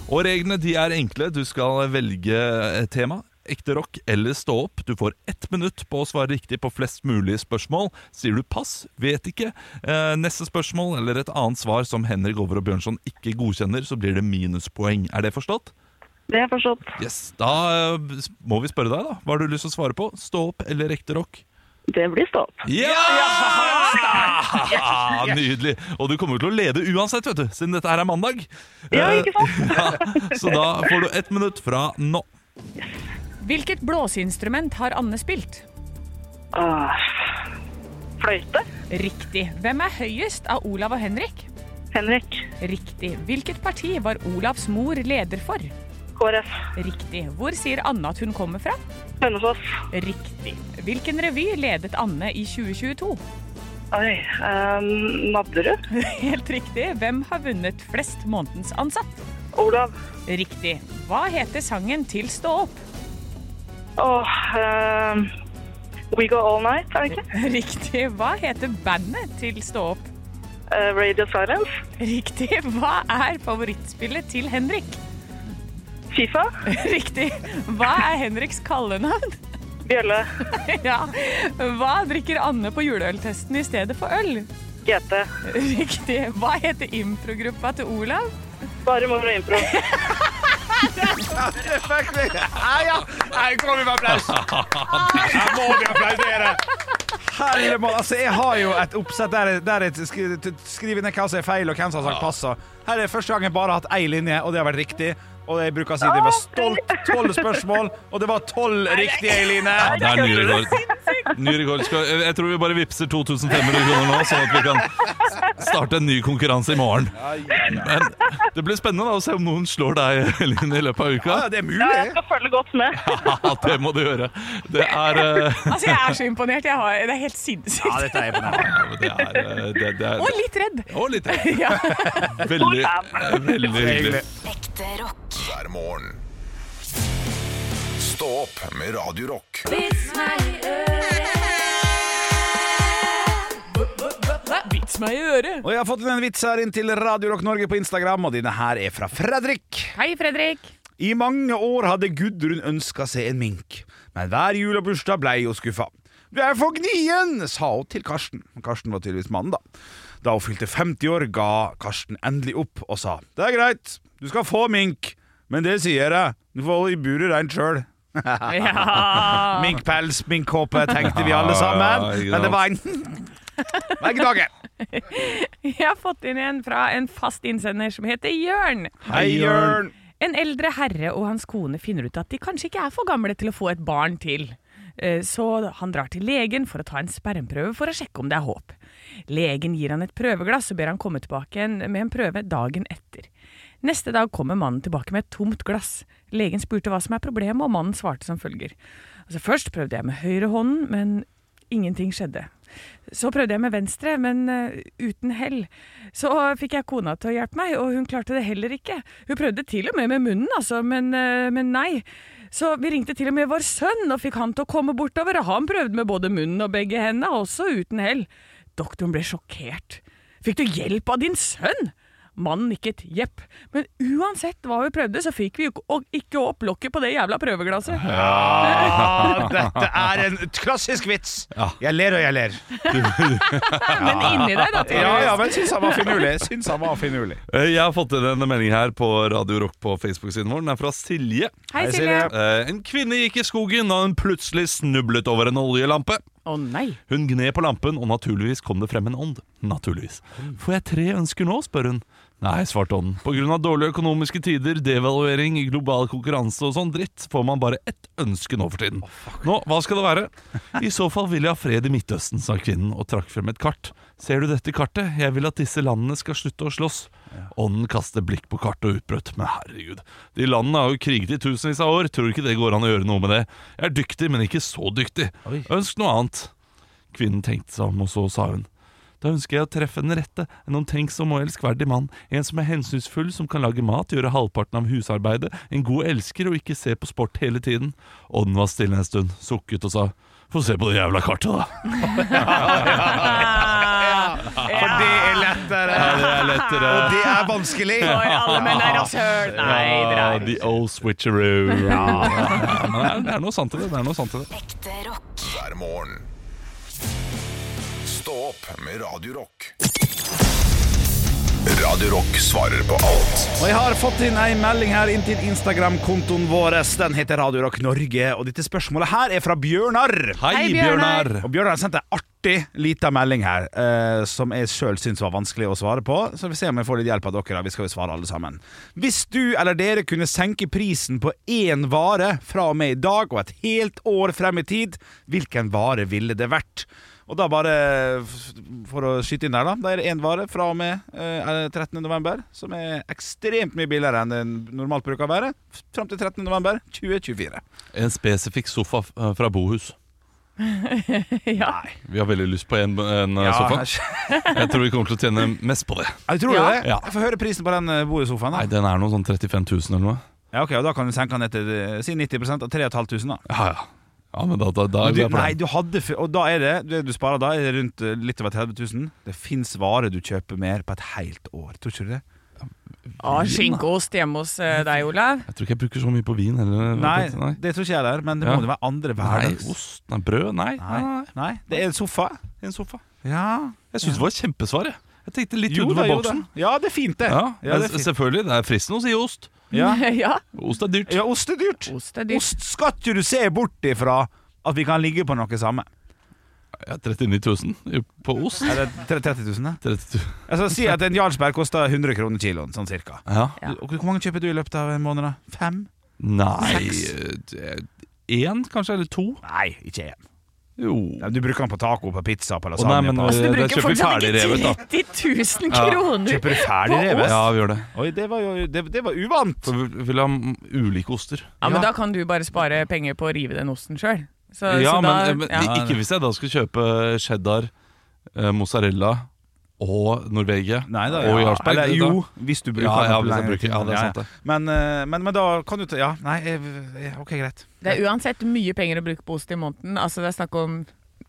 Speaker 2: Og reglene de er enkle. Du skal velge et tema. Ekte rock eller stå opp. Du får ett minutt på å svare riktig på flest mulig spørsmål. Sier du pass, vet ikke, eh, neste spørsmål eller et annet svar som Henrik Over og Bjørnson ikke godkjenner, så blir det minuspoeng. Er det forstått?
Speaker 7: Det er forstått.
Speaker 2: Yes. Da eh, må vi spørre deg, da. Hva har du lyst til å svare på? Stå opp eller ekte rock?
Speaker 7: Det blir stå opp.
Speaker 2: Ja! Nydelig. Og du kommer til å lede uansett, vet du, siden dette her er mandag.
Speaker 7: Ja,
Speaker 2: Eh,
Speaker 7: ikke sant?
Speaker 2: ja, så da får du ett minutt fra nå.
Speaker 4: Hvilket blåseinstrument har Anne spilt?
Speaker 7: Åh. Fløyte?
Speaker 4: Riktig. Hvem er høyest av Olav og Henrik?
Speaker 7: Henrik?
Speaker 4: Riktig. Hvilket parti var Olavs mor leder for?
Speaker 7: KrF?
Speaker 4: Riktig. Hvor sier Anne at hun kommer fra?
Speaker 7: Hønefoss?
Speaker 4: Riktig. Hvilken revy ledet Anne i 2022?
Speaker 7: Oi. ehm, Nadderud?
Speaker 4: Helt riktig. Hvem har vunnet flest månedens ansatt?
Speaker 7: Olav?
Speaker 4: Riktig. Hva heter sangen til Stå opp?
Speaker 7: Åh. ehm, We Go All Night, er det ikke?
Speaker 4: Riktig. Hva heter bandet til Stå opp?
Speaker 7: Eh, Radio Silence?
Speaker 4: Riktig. Hva er favorittspillet til Henrik?
Speaker 7: Fifa?
Speaker 4: Riktig. Hva er Henriks kallenavn?
Speaker 7: Bjølle?
Speaker 4: Ja. Hva drikker Anne på juleøltesten i stedet for øl?
Speaker 7: GT?
Speaker 4: Riktig. Hva heter improgruppa til Olav?
Speaker 7: Bare moro impro.
Speaker 3: Ja, Ah, ja. Nei, kom med applaus. Her må vi applaudere. Herre må, altså, jeg har jo et oppsett der jeg, der jeg skri- t- skriver ned hva som er feil, og hvem som har sagt pass. og Her er første gang jeg bare har hatt ei linje, og det har vært riktig. Og jeg bruker å si at jeg var stolt. Tolv spørsmål, og det var tolv riktige, Eiline.
Speaker 2: Ja, det er ny rekord. Ny rekord. Skal, eh, jeg tror vi bare vippser 2500 kroner nå, sånn at vi kan starte en ny konkurranse i morgen. Men det blir spennende da, å se om noen slår deg Linn, i løpet av uka.
Speaker 3: Ja, det er
Speaker 7: Ja, jeg
Speaker 3: mulig.
Speaker 7: skal følge godt med.
Speaker 2: Ja, det må du gjøre. Det er eh,
Speaker 4: Altså, jeg er så imponert. Jeg har, det er helt sinnssykt.
Speaker 3: Ja, dette er imponerende.
Speaker 2: ja, men Det er eh, det, det er-
Speaker 4: Og litt redd.
Speaker 2: Og litt.
Speaker 4: Ja.
Speaker 2: Veldig, eh, veldig hyggelig.
Speaker 3: Hyggelig.
Speaker 5: Ekte rock.
Speaker 1: hver morgen. Stå opp med Radio Rock.
Speaker 4: Vits Kyss meg i øret!
Speaker 3: Og jeg har fått inn en vits her inn til Radio Rock Norge på Instagram, og denne her er fra Fredrik.
Speaker 4: Hei, Fredrik.
Speaker 3: I mange år hadde Gudrun ønska seg en mink, men hver jul og bursdag blei hun skuffa. Du er for gnien, sa hun til Karsten. Karsten var tydeligvis mannen, da. Da hun fylte 50 år, ga Karsten endelig opp og sa det er greit, du skal få mink, men det sier jeg, du får holde i buret reint sjøl.
Speaker 4: Ja.
Speaker 3: Minkpels, minkkåpe, tenkte vi alle sammen,
Speaker 2: Ja, ja, ikke
Speaker 3: men det
Speaker 2: sant.
Speaker 3: var en Hver gnage.
Speaker 4: Jeg har fått inn en fra en fast innsender som heter Jørn.
Speaker 3: Hei, Jørn.
Speaker 4: En eldre herre og hans kone finner ut at de kanskje ikke er for gamle til å få et barn til. Eh, Så han drar til legen for å ta en spermprøve for å sjekke om det er håp. Legen gir han et prøveglass og ber han komme tilbake en- med en prøve dagen etter. Neste dag kommer mannen tilbake med et tomt glass. Legen spurte hva som er problemet, og mannen svarte som følger. Altså, først prøvde jeg med høyrehånden, men ingenting skjedde. Så prøvde jeg med venstre, men eh, uten hell. Så fikk jeg kona til å hjelpe meg, og hun klarte det heller ikke. Hun prøvde til og med med munnen, altså, men, eh, men nei. Så vi ringte til og med vår sønn og fikk han til å komme bortover, og han prøvde med både munnen og begge hendene, også uten hell. Doktoren ble sjokkert. Fikk du hjelp av din sønn? Mannen nikket jepp, men uansett hva vi prøvde, så fikk vi jo ikke- ikke opp lokket på det jævla prøveglasset.
Speaker 3: Ah, dette er en klassisk vits. Jeg ler og jeg ler.
Speaker 4: Men inni deg, da.
Speaker 3: Ja, ja, men syns han var finurlig. Syns han var finurlig.
Speaker 2: Eh, Jeg har fått inn en melding her på Radio Rock på Facebook-siden vår. Den er fra Silje.
Speaker 4: Hei,
Speaker 3: Hei,
Speaker 4: Silje.
Speaker 3: Silje.
Speaker 2: Eh, En kvinne gikk i skogen da hun plutselig snublet over en oljelampe.
Speaker 4: Å nei.
Speaker 2: Hun gned på lampen, og naturligvis kom det frem en ånd. Naturligvis. Får jeg tre ønsker nå, spør hun. Nei, svarte ånden. På grunn av dårlige økonomiske tider, devaluering, global konkurranse og sånn dritt, får man bare ett ønske nå for tiden. Nå, hva skal det være? I så fall vil jeg ha fred i Midtøsten, sa kvinnen og trakk frem et kart. Ser du dette kartet? Jeg vil at disse landene skal slutte å slåss. Ånden kastet blikk på kartet og utbrøt. Men herregud, de landene har jo kriget i tusenvis av år, tror du ikke det går an å gjøre noe med det? Jeg er dyktig, men ikke så dyktig. Ønsk noe annet. Kvinnen tenkte seg om, og så sa hun. Da ønsker jeg å treffe den rette, en omtenksom og elskverdig mann, en som er hensynsfull, som kan lage mat, gjøre halvparten av husarbeidet, en god elsker og ikke se på sport hele tiden. Ånden var stille en stund, sukket og sa få se på det jævla kartet, da.
Speaker 3: For det er lettere.
Speaker 2: Ja, det er lettere.
Speaker 3: Og det er vanskelig.
Speaker 4: Oi, alle menn er rasshøl. Nei, dere
Speaker 2: Ja,
Speaker 4: er
Speaker 2: the old switcheroo. Ja, men det er- det er noe sant i det. det, er noe sant i det.
Speaker 5: Ekte rock.
Speaker 1: hver morgen. Stå opp med Radio Rock. Radio Rock svarer på alt
Speaker 3: Og jeg har fått inn ei melding her inn til Instagram-kontoen vår. Den heter Radio Rock Norge, og dette spørsmålet her er fra Bjørnar.
Speaker 2: Hei,
Speaker 4: Hei, Bjørnar.
Speaker 2: Bjørnar.
Speaker 3: Og Bjørnar sendte ei artig lita melding her, eh, som jeg sjøl syns var vanskelig å svare på. Så vi ser om jeg får litt hjelp av dere. da. Vi skal jo svare alle sammen. Hvis du eller dere kunne senke prisen på én vare fra og med i dag og et helt år frem i tid, hvilken vare ville det vært? Og da bare f- for å skyte inn der, da. Da er det én vare fra og med eh, er det 13. november, som er ekstremt mye billigere enn det normalt bruker å være. f- Fram til 13. november 2024.
Speaker 2: En spesifikk sofa eh, fra Bohus.
Speaker 4: Ja.
Speaker 2: Vi har veldig lyst på en, en eh,
Speaker 3: Ja,
Speaker 2: sofa. Jeg tror vi kommer til å tjene mest på det.
Speaker 3: jeg tror
Speaker 4: Ja.
Speaker 3: det.
Speaker 2: Ja.
Speaker 3: Jeg får høre prisen på den eh, bordsofaen. da.
Speaker 2: Nei, den er noe sånn 35 000 eller noe.
Speaker 3: Ja, ok, og Da kan du senke den ned til eh, si 90 av 3500. da.
Speaker 2: Ja, ja. Ja, men da, da, da er
Speaker 3: Men
Speaker 2: vi
Speaker 3: du,
Speaker 2: der på
Speaker 3: nei,
Speaker 2: den.
Speaker 3: du hadde, f- og da er det det du sparer da, er det rundt eh, litt over 30 000. Det fins varer du kjøper mer på et helt år. Tror ikke du det?
Speaker 4: Ah, Skinkeost hjemme hos eh, deg, Olav.
Speaker 2: Jeg tror ikke jeg bruker så mye på vin heller.
Speaker 3: Nei, det tror ikke jeg heller. Men det
Speaker 2: Ja.
Speaker 3: må jo være andre
Speaker 2: Nei,
Speaker 3: hverdags...
Speaker 2: ost, nei, brød, nei. nei.
Speaker 3: Nei,
Speaker 2: nei,
Speaker 3: nei, det er en sofa.
Speaker 2: nei. En sofa.
Speaker 3: Ja,
Speaker 2: Jeg syns det var et kjempesvar, jeg. Jeg tenkte litt
Speaker 3: Jo,
Speaker 2: utenfor
Speaker 3: det er jo
Speaker 2: boksen.
Speaker 3: det. Ja, det er fint, det.
Speaker 2: Ja,
Speaker 3: Ja, det
Speaker 2: men
Speaker 3: er fint.
Speaker 2: selvfølgelig, det er fristende å si ost.
Speaker 3: Ja.
Speaker 4: Ja,
Speaker 2: Ost er dyrt.
Speaker 3: ja, ost er dyrt.
Speaker 4: ost er dyrt.
Speaker 3: Ost skal ikke du se bort ifra at vi kan ligge på noe samme.
Speaker 2: Ja, 39 000 på ost.
Speaker 3: Er det tre- 30 000, det?
Speaker 2: 30 000.
Speaker 3: Altså, si at en Jarlsberg koster 100 kroner kiloen, sånn cirka.
Speaker 2: Ja.
Speaker 4: Ja.
Speaker 3: Og Hvor mange kjøper du i løpet av en måned, da? Fem?
Speaker 2: Nei
Speaker 3: Seks.
Speaker 2: Én, kanskje? Eller to?
Speaker 3: Nei, ikke én.
Speaker 2: Jo.
Speaker 3: Ja, Du bruker den på taco, på pizza, på
Speaker 2: Å, nei,
Speaker 3: lasagne
Speaker 2: men
Speaker 3: på...
Speaker 4: Så
Speaker 2: eh,
Speaker 4: du
Speaker 2: da
Speaker 4: bruker
Speaker 2: kjøper vi
Speaker 4: fortsatt
Speaker 2: ferdigrevet, da.
Speaker 4: ikke 30 000
Speaker 2: Ja.
Speaker 4: kroner.
Speaker 3: Kjøper du ferdig
Speaker 4: På
Speaker 3: revet?
Speaker 2: Ja, vi gjør det.
Speaker 3: Oi, det var jo det, det var uvant.
Speaker 2: Så vi vil ha mm, ulike oster.
Speaker 4: Ja, men
Speaker 3: Ja.
Speaker 4: Da kan du bare spare penger på å rive den osten sjøl. Så,
Speaker 2: Ja,
Speaker 4: så da,
Speaker 2: men, eh, men
Speaker 4: ja.
Speaker 2: ikke hvis jeg da skal kjøpe cheddar, eh, mozzarella og Norvegia.
Speaker 3: Nei da,
Speaker 2: Og
Speaker 3: ja.
Speaker 2: Jarlsberg,
Speaker 3: Eller,
Speaker 2: det
Speaker 3: jo,
Speaker 2: da.
Speaker 3: hvis du bruker
Speaker 2: Ja, ja,
Speaker 3: den. på
Speaker 2: hvis jeg
Speaker 3: lengre
Speaker 2: bruker-
Speaker 3: tid.
Speaker 2: ja, det er sant det.
Speaker 3: Men, eh, men, men da kan du ta Ja, nei, jeg, jeg, ok, greit.
Speaker 4: Det er uansett mye penger å bruke på ost i måneden. Altså Det er snakk om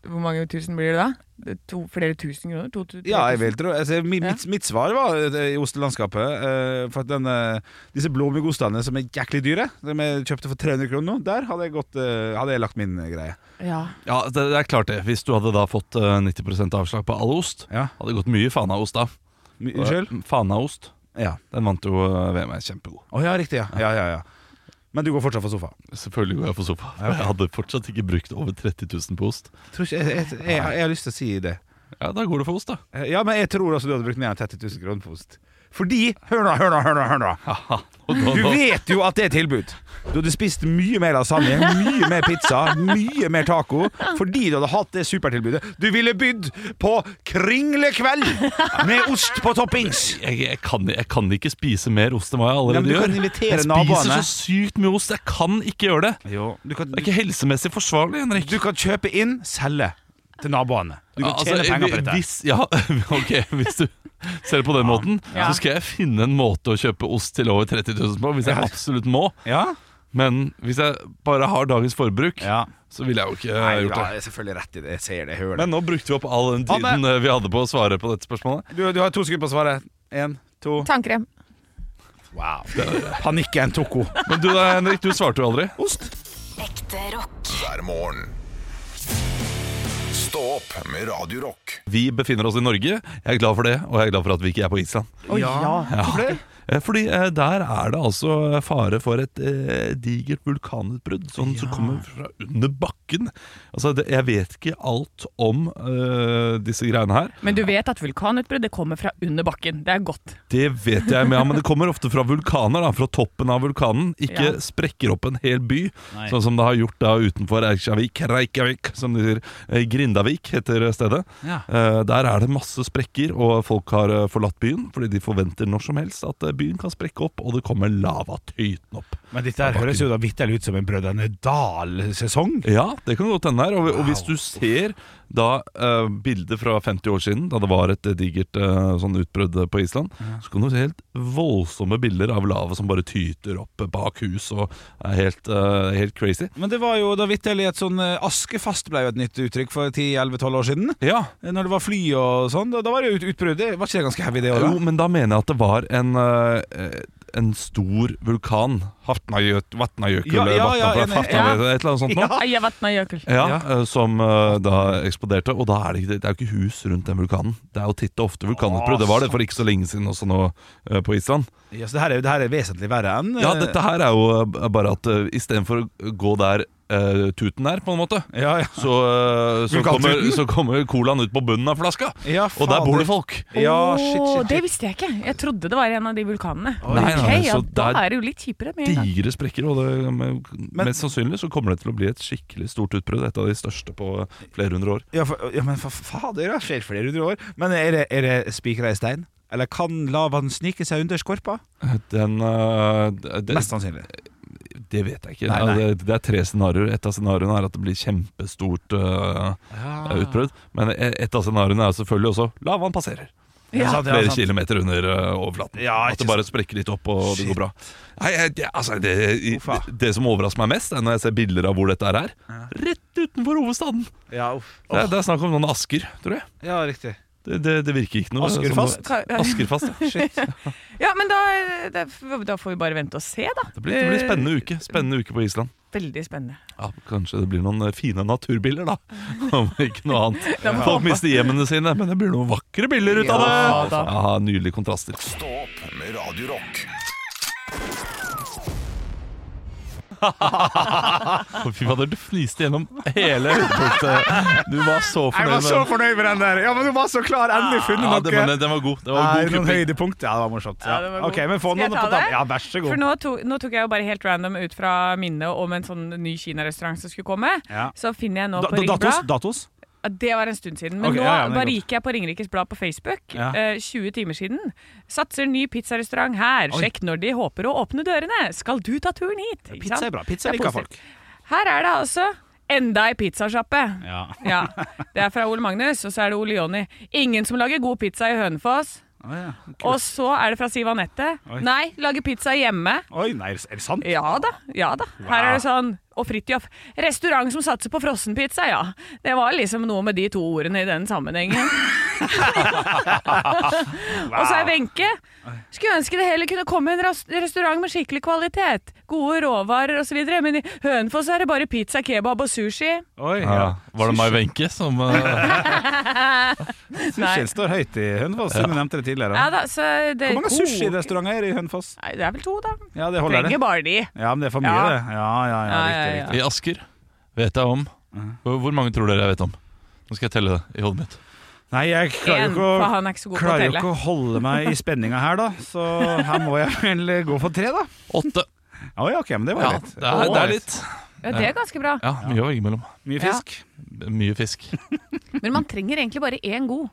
Speaker 4: Hvor mange tusen blir det da? Det er To, flere tusen kroner? To, to,
Speaker 3: Ja,
Speaker 4: tre
Speaker 3: jeg vil tro altså, mi-
Speaker 4: Ja.
Speaker 3: mitt, mitt svar var eh, i ostelandskapet eh, For at denne, disse blåmugostene som er jæklig dyre Som jeg kjøpte for 300 kroner nå Der hadde jeg, gått, eh, hadde jeg lagt min eh, greie
Speaker 4: tusen? Ja.
Speaker 2: Ja, det, det er klart det. Hvis du hadde da fått eh, 90 avslag på all ost,
Speaker 3: Ja.
Speaker 2: hadde det gått mye fanaost da. Eh,
Speaker 3: Mi- Unnskyld?
Speaker 2: Fanaost.
Speaker 3: Ja,
Speaker 2: Den vant jo eh, VM, er kjempegod.
Speaker 3: Å, ja riktig ja. Ja, ja, ja Men du går fortsatt for sofa
Speaker 2: Selvfølgelig går jeg på sofa. For jeg hadde fortsatt ikke brukt over 30 000 på ost.
Speaker 3: jeg, tror ikke, jeg, jeg, jeg, jeg har lyst til å si det
Speaker 2: Ja, da går det for ost, da.
Speaker 3: Eh, Ja, men jeg tror også du hadde brukt mer enn 30 000 kroner på ost Fordi, hør nå, hør nå, hør nå, hør nå
Speaker 2: Haha. Og da,
Speaker 3: Du
Speaker 2: da,
Speaker 3: vet jo at det er tilbud. Du hadde spist mye mer lasagne, mye mer pizza, mye mer taco fordi du hadde hatt det supertilbudet. Du ville bydd på kringlekveld med ost på toppings.
Speaker 2: jeg, jeg, kan, jeg kan ikke spise mer ost enn hva jeg
Speaker 3: Ja,
Speaker 2: allerede
Speaker 3: men du
Speaker 2: gjør.
Speaker 3: kan invitere
Speaker 2: jeg spiser
Speaker 3: naboene.
Speaker 2: så sykt mye ost. Jeg kan ikke gjøre det.
Speaker 3: Jo, du kan,
Speaker 2: Det er ikke helsemessig forsvarlig, Henrik.
Speaker 3: du kan kjøpe inn, selge til naboene. Du kan
Speaker 2: Ja,
Speaker 3: tjene
Speaker 2: altså,
Speaker 3: penger på dette.
Speaker 2: Hvis, ja, ok, hvis du ser det på den måten,
Speaker 4: Ja.
Speaker 2: så skal jeg finne en måte å kjøpe ost til over 30 000 på, hvis jeg
Speaker 3: Ja.
Speaker 2: absolutt må.
Speaker 3: Ja?
Speaker 2: Men hvis jeg bare har dagens forbruk,
Speaker 3: ja.
Speaker 2: så ville jeg jo ikke eh,
Speaker 3: Nei,
Speaker 2: gjort
Speaker 3: da,
Speaker 2: det.
Speaker 3: jeg er selvfølgelig rett i det. Jeg ser det, jeg hører det.
Speaker 2: Men nå brukte vi opp all den tiden
Speaker 3: Anne!
Speaker 2: eh, vi hadde på å svare på dette spørsmålet.
Speaker 3: Du, du har to sekunder på å svare. Én, to
Speaker 4: Tannkrem.
Speaker 3: Wow. Panikken tok henne.
Speaker 2: Men du da, Henrik, du svarte jo aldri.
Speaker 3: Ost.
Speaker 5: Ekte rock.
Speaker 1: hver morgen. Stå opp med Radio Rock.
Speaker 2: Vi befinner oss i Norge. Jeg er glad for det, og jeg er glad for at vi ikke er på Island.
Speaker 4: Å ja.
Speaker 3: Ja.
Speaker 2: Eh, Fordi eh, der er det altså fare for et eh, digert vulkanutbrudd sånn, som kommer fra under bakken. Altså, det, jeg vet ikke alt om eh, disse greiene her.
Speaker 4: Men du vet at vulkanutbrudd det kommer fra under bakken. Det er godt.
Speaker 2: Det vet jeg, men, ja, men det kommer ofte fra vulkaner, da, fra toppen av vulkanen. Ikke
Speaker 4: Ja.
Speaker 2: sprekker opp en hel by, sånn som det har gjort da utenfor Reykjavik, Reykjavik, som de sier. Eh, Grindavik heter stedet.
Speaker 3: Ja.
Speaker 2: Eh, Der er det masse sprekker, og folk har eh, forlatt byen fordi de forventer når som helst at eh, byen kan sprekke opp, og det kommer lava tytende opp.
Speaker 3: Men dette her høres jo da vitterlig ut som en Brødrene Dal-sesong.
Speaker 2: Ja, det kan godt hende her. Og, og hvis du ser da eh, bilder fra 50 år siden, da det var et eh, digert eh, sånn utbrudd eh, på Island, så kan du se helt voldsomme bilder av lava som bare tyter opp eh, bak hus og er helt, eh, helt crazy.
Speaker 3: Men det var jo da vitterlig et sånn eh, Askefast ble jo et nytt uttrykk for 10-11-12 år siden.
Speaker 2: Ja,
Speaker 3: Eh, Når det var fly og sånn, da, da var det jo ut- utbrudd. Det Var ikke det ganske heavy, det
Speaker 2: Eh, jo,
Speaker 3: òg?
Speaker 2: men da mener jeg at det var en, eh, eh, en stor vulkan. Vatnajökull, Vatnajökull,
Speaker 3: Ja, ja, ja,
Speaker 2: Vatnajökull,
Speaker 3: enig.
Speaker 2: Vatnajökull, et eller annet sånt nå.
Speaker 4: Ai, jeg vet meg, Jøkel.
Speaker 2: Ah! Ja,
Speaker 3: Ja.
Speaker 2: eh, Som eh, da eksploderte. Og da er det, ikke, det er jo ikke hus rundt den vulkanen. Det er jo titt og ofte vulkanutbrudd. Det var det for ikke så lenge siden også nå eh, på Island.
Speaker 3: Ja, så det her, er, jo- det her er vesentlig verre enn eh,
Speaker 2: Ja, dette her er jo eh, bare at eh, istedenfor å gå der eh, tuten er, på en måte,
Speaker 3: ja, ja.
Speaker 2: så, eh, så, kommer,
Speaker 3: Vulkantuten?
Speaker 2: så kommer colaen ut på bunnen av flaska.
Speaker 3: Ja,
Speaker 2: Og der bor
Speaker 3: fader.
Speaker 2: det folk.
Speaker 3: Ja,
Speaker 4: Åh,
Speaker 3: shit, shit, shit.
Speaker 4: Det visste jeg ikke. Jeg trodde det var en av de vulkanene.
Speaker 2: Nei,
Speaker 4: Ok,
Speaker 2: nei,
Speaker 4: ja,
Speaker 2: så
Speaker 4: da
Speaker 2: der-
Speaker 4: er det jo litt kjipere med en gang.
Speaker 2: Digre sprekker, og det, med, mest sannsynlig så kommer det til å bli et skikkelig stort utbrudd. Et av de største på flere hundre år.
Speaker 3: Ja, for, ja, men for fader, det skjer flere hundre år. Men er det, er det spikra i stein? Eller kan lavaen snike seg under skorpa?
Speaker 2: Den eh, det- det,
Speaker 3: Mest sannsynlig.
Speaker 2: Det vet jeg ikke.
Speaker 3: Nei,
Speaker 2: Ja,
Speaker 3: nei.
Speaker 2: Det, det er tre scenarioer. Et av scenarioene er at det blir kjempestort øh,
Speaker 3: Ah.
Speaker 2: utbrudd. Men e, et av scenarioene er selvfølgelig også lavaen passerer.
Speaker 3: Ja, sant, ja,
Speaker 2: Flere
Speaker 3: sant.
Speaker 2: kilometer under øh, overflaten.
Speaker 3: Ja,
Speaker 2: at
Speaker 3: ikke
Speaker 2: det bare sprekker litt opp, og det
Speaker 3: Shit.
Speaker 2: går bra. Nei, jeg- det, altså, det, i-
Speaker 3: Uffa.
Speaker 2: det, det som overrasker meg mest, er når jeg ser bilder av hvor dette her er. Rett utenfor hovedstaden.
Speaker 3: Ja, uff.
Speaker 2: Det, er- det er snakk om noen Asker, tror jeg.
Speaker 3: ja riktig.
Speaker 2: Det, det, det virker ikke noe som-
Speaker 3: Askerfast?
Speaker 2: Askerfast, ja.
Speaker 4: Ja, men da, da, da får vi bare vente og se, da.
Speaker 2: Det blir, det blir spennende uke. Spennende uke på Island.
Speaker 4: Veldig spennende.
Speaker 2: Ja, Kanskje det blir noen eh, fine naturbilder, da. Om ikke noe annet.
Speaker 4: Ja, men-
Speaker 2: Folk mister hjemmene sine, men det blir noen vakre bilder ut av det!
Speaker 4: Ja, da.
Speaker 2: Ja, Nydelige kontraster.
Speaker 1: Stå opp med Radio Rock.
Speaker 2: Å, Fy fader, du fliste gjennom hele høydepunktet. Du var så
Speaker 3: Jeg
Speaker 2: fornøyd
Speaker 3: var
Speaker 2: med
Speaker 3: så
Speaker 2: den. Ah,
Speaker 3: fornøyd med den der! Ja, men Du var så klar! Endelig funnet
Speaker 2: Ja,
Speaker 3: noe.
Speaker 2: det, men den var god. Det var
Speaker 3: Nei,
Speaker 2: god
Speaker 3: noen
Speaker 2: klipping.
Speaker 3: høydepunkt. Ja, det var morsomt. Ja.
Speaker 4: Ja, det var god.
Speaker 3: ok, men
Speaker 4: Skal
Speaker 3: få
Speaker 4: jeg ta
Speaker 3: noen på
Speaker 4: det?
Speaker 3: tapp. Ja, vær så
Speaker 4: For
Speaker 3: god.
Speaker 4: nå, to, nå tok jeg jo bare helt random ut fra minnet om en sånn ny kinarestaurant som skulle komme.
Speaker 3: Ja.
Speaker 4: Så finner jeg nå
Speaker 3: Da-
Speaker 4: på
Speaker 3: da- datos?
Speaker 4: Ringeblad
Speaker 3: datos?
Speaker 4: Ja, Det var en stund siden. Men
Speaker 3: Ok,
Speaker 4: nå
Speaker 3: ja, ja, det er
Speaker 4: bare
Speaker 3: godt.
Speaker 4: gikk jeg på Ringerikes Blad på Facebook.
Speaker 3: Ja.
Speaker 4: Eh, 20 timer siden. Satser ny pizzarestaurant her.
Speaker 3: Oi.
Speaker 4: Sjekk når de håper å åpne dørene. Skal du ta turen hit? Ikke
Speaker 3: Pizza
Speaker 4: sant?
Speaker 3: er bra. Pizza
Speaker 4: Det er
Speaker 3: liker
Speaker 4: positivt.
Speaker 3: folk.
Speaker 4: Her er det altså enda ei pizzasjappe.
Speaker 3: Ja.
Speaker 4: Ja. Det er fra Ole Magnus, og så er det Ole Jonny. Ingen som lager god pizza i Hønefoss. Og så er det fra Siv Anette.
Speaker 3: Oi.
Speaker 4: Nei, lager pizza hjemme.
Speaker 3: Oi, nei, er det sant?
Speaker 4: Ja da. ja da Her er det sånn og Fridtjof. Restaurant som satser på frossenpizza, ja. Det var liksom noe med de to ordene i den sammenhengen. Og så er Wenche. Skulle ønske det heller kunne komme en ras- restaurant med skikkelig kvalitet. Gode råvarer osv. Men i Hønefoss er det bare pizza, kebab og sushi.
Speaker 3: Oi, ja.
Speaker 2: Ja. Var det Mai Wenche som eh,
Speaker 4: Nei.
Speaker 3: Sushien står høyt i Hønefoss, siden du nevnte det tidligere.
Speaker 4: Ja da, så det
Speaker 3: Hvor mange
Speaker 4: to-
Speaker 3: sushirestauranter er det i Hønefoss?
Speaker 4: Nei, Det er vel to, da.
Speaker 3: Ja, det holder,
Speaker 4: Trenger
Speaker 3: det.
Speaker 4: bare de.
Speaker 3: Ja, men det er for mye,
Speaker 4: Ja.
Speaker 3: det. Ja, ja, ja,
Speaker 4: Ja, ja,
Speaker 3: riktig,
Speaker 4: ja.
Speaker 3: riktig.
Speaker 2: i Asker? Vet jeg om. Hvor hvor mange tror dere jeg vet om? Nå skal jeg telle det i hodet mitt.
Speaker 3: Nei, jeg klarer
Speaker 4: En,
Speaker 3: jo ikke
Speaker 4: for
Speaker 3: å
Speaker 4: han er ikke så god på å
Speaker 3: Klarer jo
Speaker 4: telle.
Speaker 3: ikke å holde meg i spenninga her, da. Så her må jeg vel gå for tre, da.
Speaker 2: Åtte.
Speaker 3: Å ja, ok, men det var
Speaker 2: Ja,
Speaker 3: litt.
Speaker 2: det er, det er litt.
Speaker 4: Ja, det er ganske bra.
Speaker 2: Ja, Mye å velge mellom.
Speaker 3: Mye fisk.
Speaker 2: Mye fisk.
Speaker 4: Men man trenger egentlig bare én god.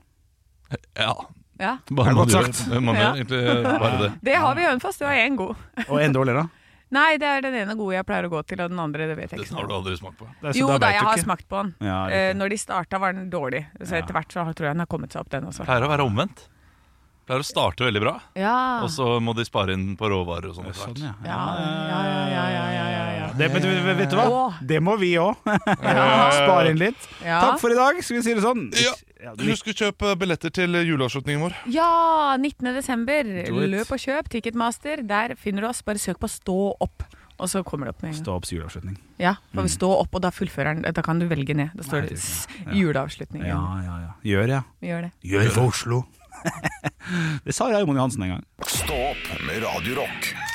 Speaker 2: Ja.
Speaker 4: Ja.
Speaker 2: Bare
Speaker 3: Ja,
Speaker 2: man
Speaker 3: godt
Speaker 2: gjør-
Speaker 3: sagt.
Speaker 2: Man gjør
Speaker 4: Ja.
Speaker 2: egentlig bare det.
Speaker 4: Det har vi i Hønefoss, det var én god.
Speaker 3: Og en dårligere.
Speaker 4: Nei, det er den ene gode jeg pleier å gå til, og den andre det vet jeg
Speaker 2: Det
Speaker 4: ikke.
Speaker 2: har du aldri smakt på.
Speaker 3: Det er så
Speaker 4: Jo da,
Speaker 3: vet
Speaker 4: jeg
Speaker 3: du
Speaker 4: har
Speaker 3: ikke.
Speaker 4: smakt på den.
Speaker 3: Ja,
Speaker 4: Eh,
Speaker 3: riktig.
Speaker 4: når de starta, var den dårlig. Så etter hvert så har- tror jeg den har kommet seg opp, den også.
Speaker 2: Pleier å være omvendt. Pleier å starte veldig bra,
Speaker 4: Ja.
Speaker 2: og så må de spare inn på råvarer og sånn. etter hvert.
Speaker 3: Sånn, ja.
Speaker 4: ja, ja, ja, ja, ja, ja, ja,
Speaker 3: Det, men du- vet du hva?
Speaker 4: Åh.
Speaker 3: Det må vi òg. Spare inn litt.
Speaker 4: ja.
Speaker 3: Takk for i dag, skal vi si det sånn.
Speaker 2: Ja.
Speaker 3: Ja, det-
Speaker 2: Husk å kjøpe billetter til juleavslutningen vår.
Speaker 4: Ja, 19. desember.
Speaker 3: Do it.
Speaker 4: Løp og kjøp Ticketmaster. Der finner du oss. Bare søk på 'Stå opp', og så kommer det opp med en gang.
Speaker 3: Stå opps juleavslutning.
Speaker 4: Ja, for stå opp, og da fullfører den. Da kan du velge ned. Da står
Speaker 3: Nei,
Speaker 4: det
Speaker 3: det
Speaker 4: s-
Speaker 3: Ja.
Speaker 4: juleavslutning.
Speaker 3: Ja, ja, ja. Gjør, ja.
Speaker 4: Vi gjør det.
Speaker 3: Gjør for Oslo. det sa Raymond Johansen en gang.
Speaker 1: Stå opp med Radio Rock.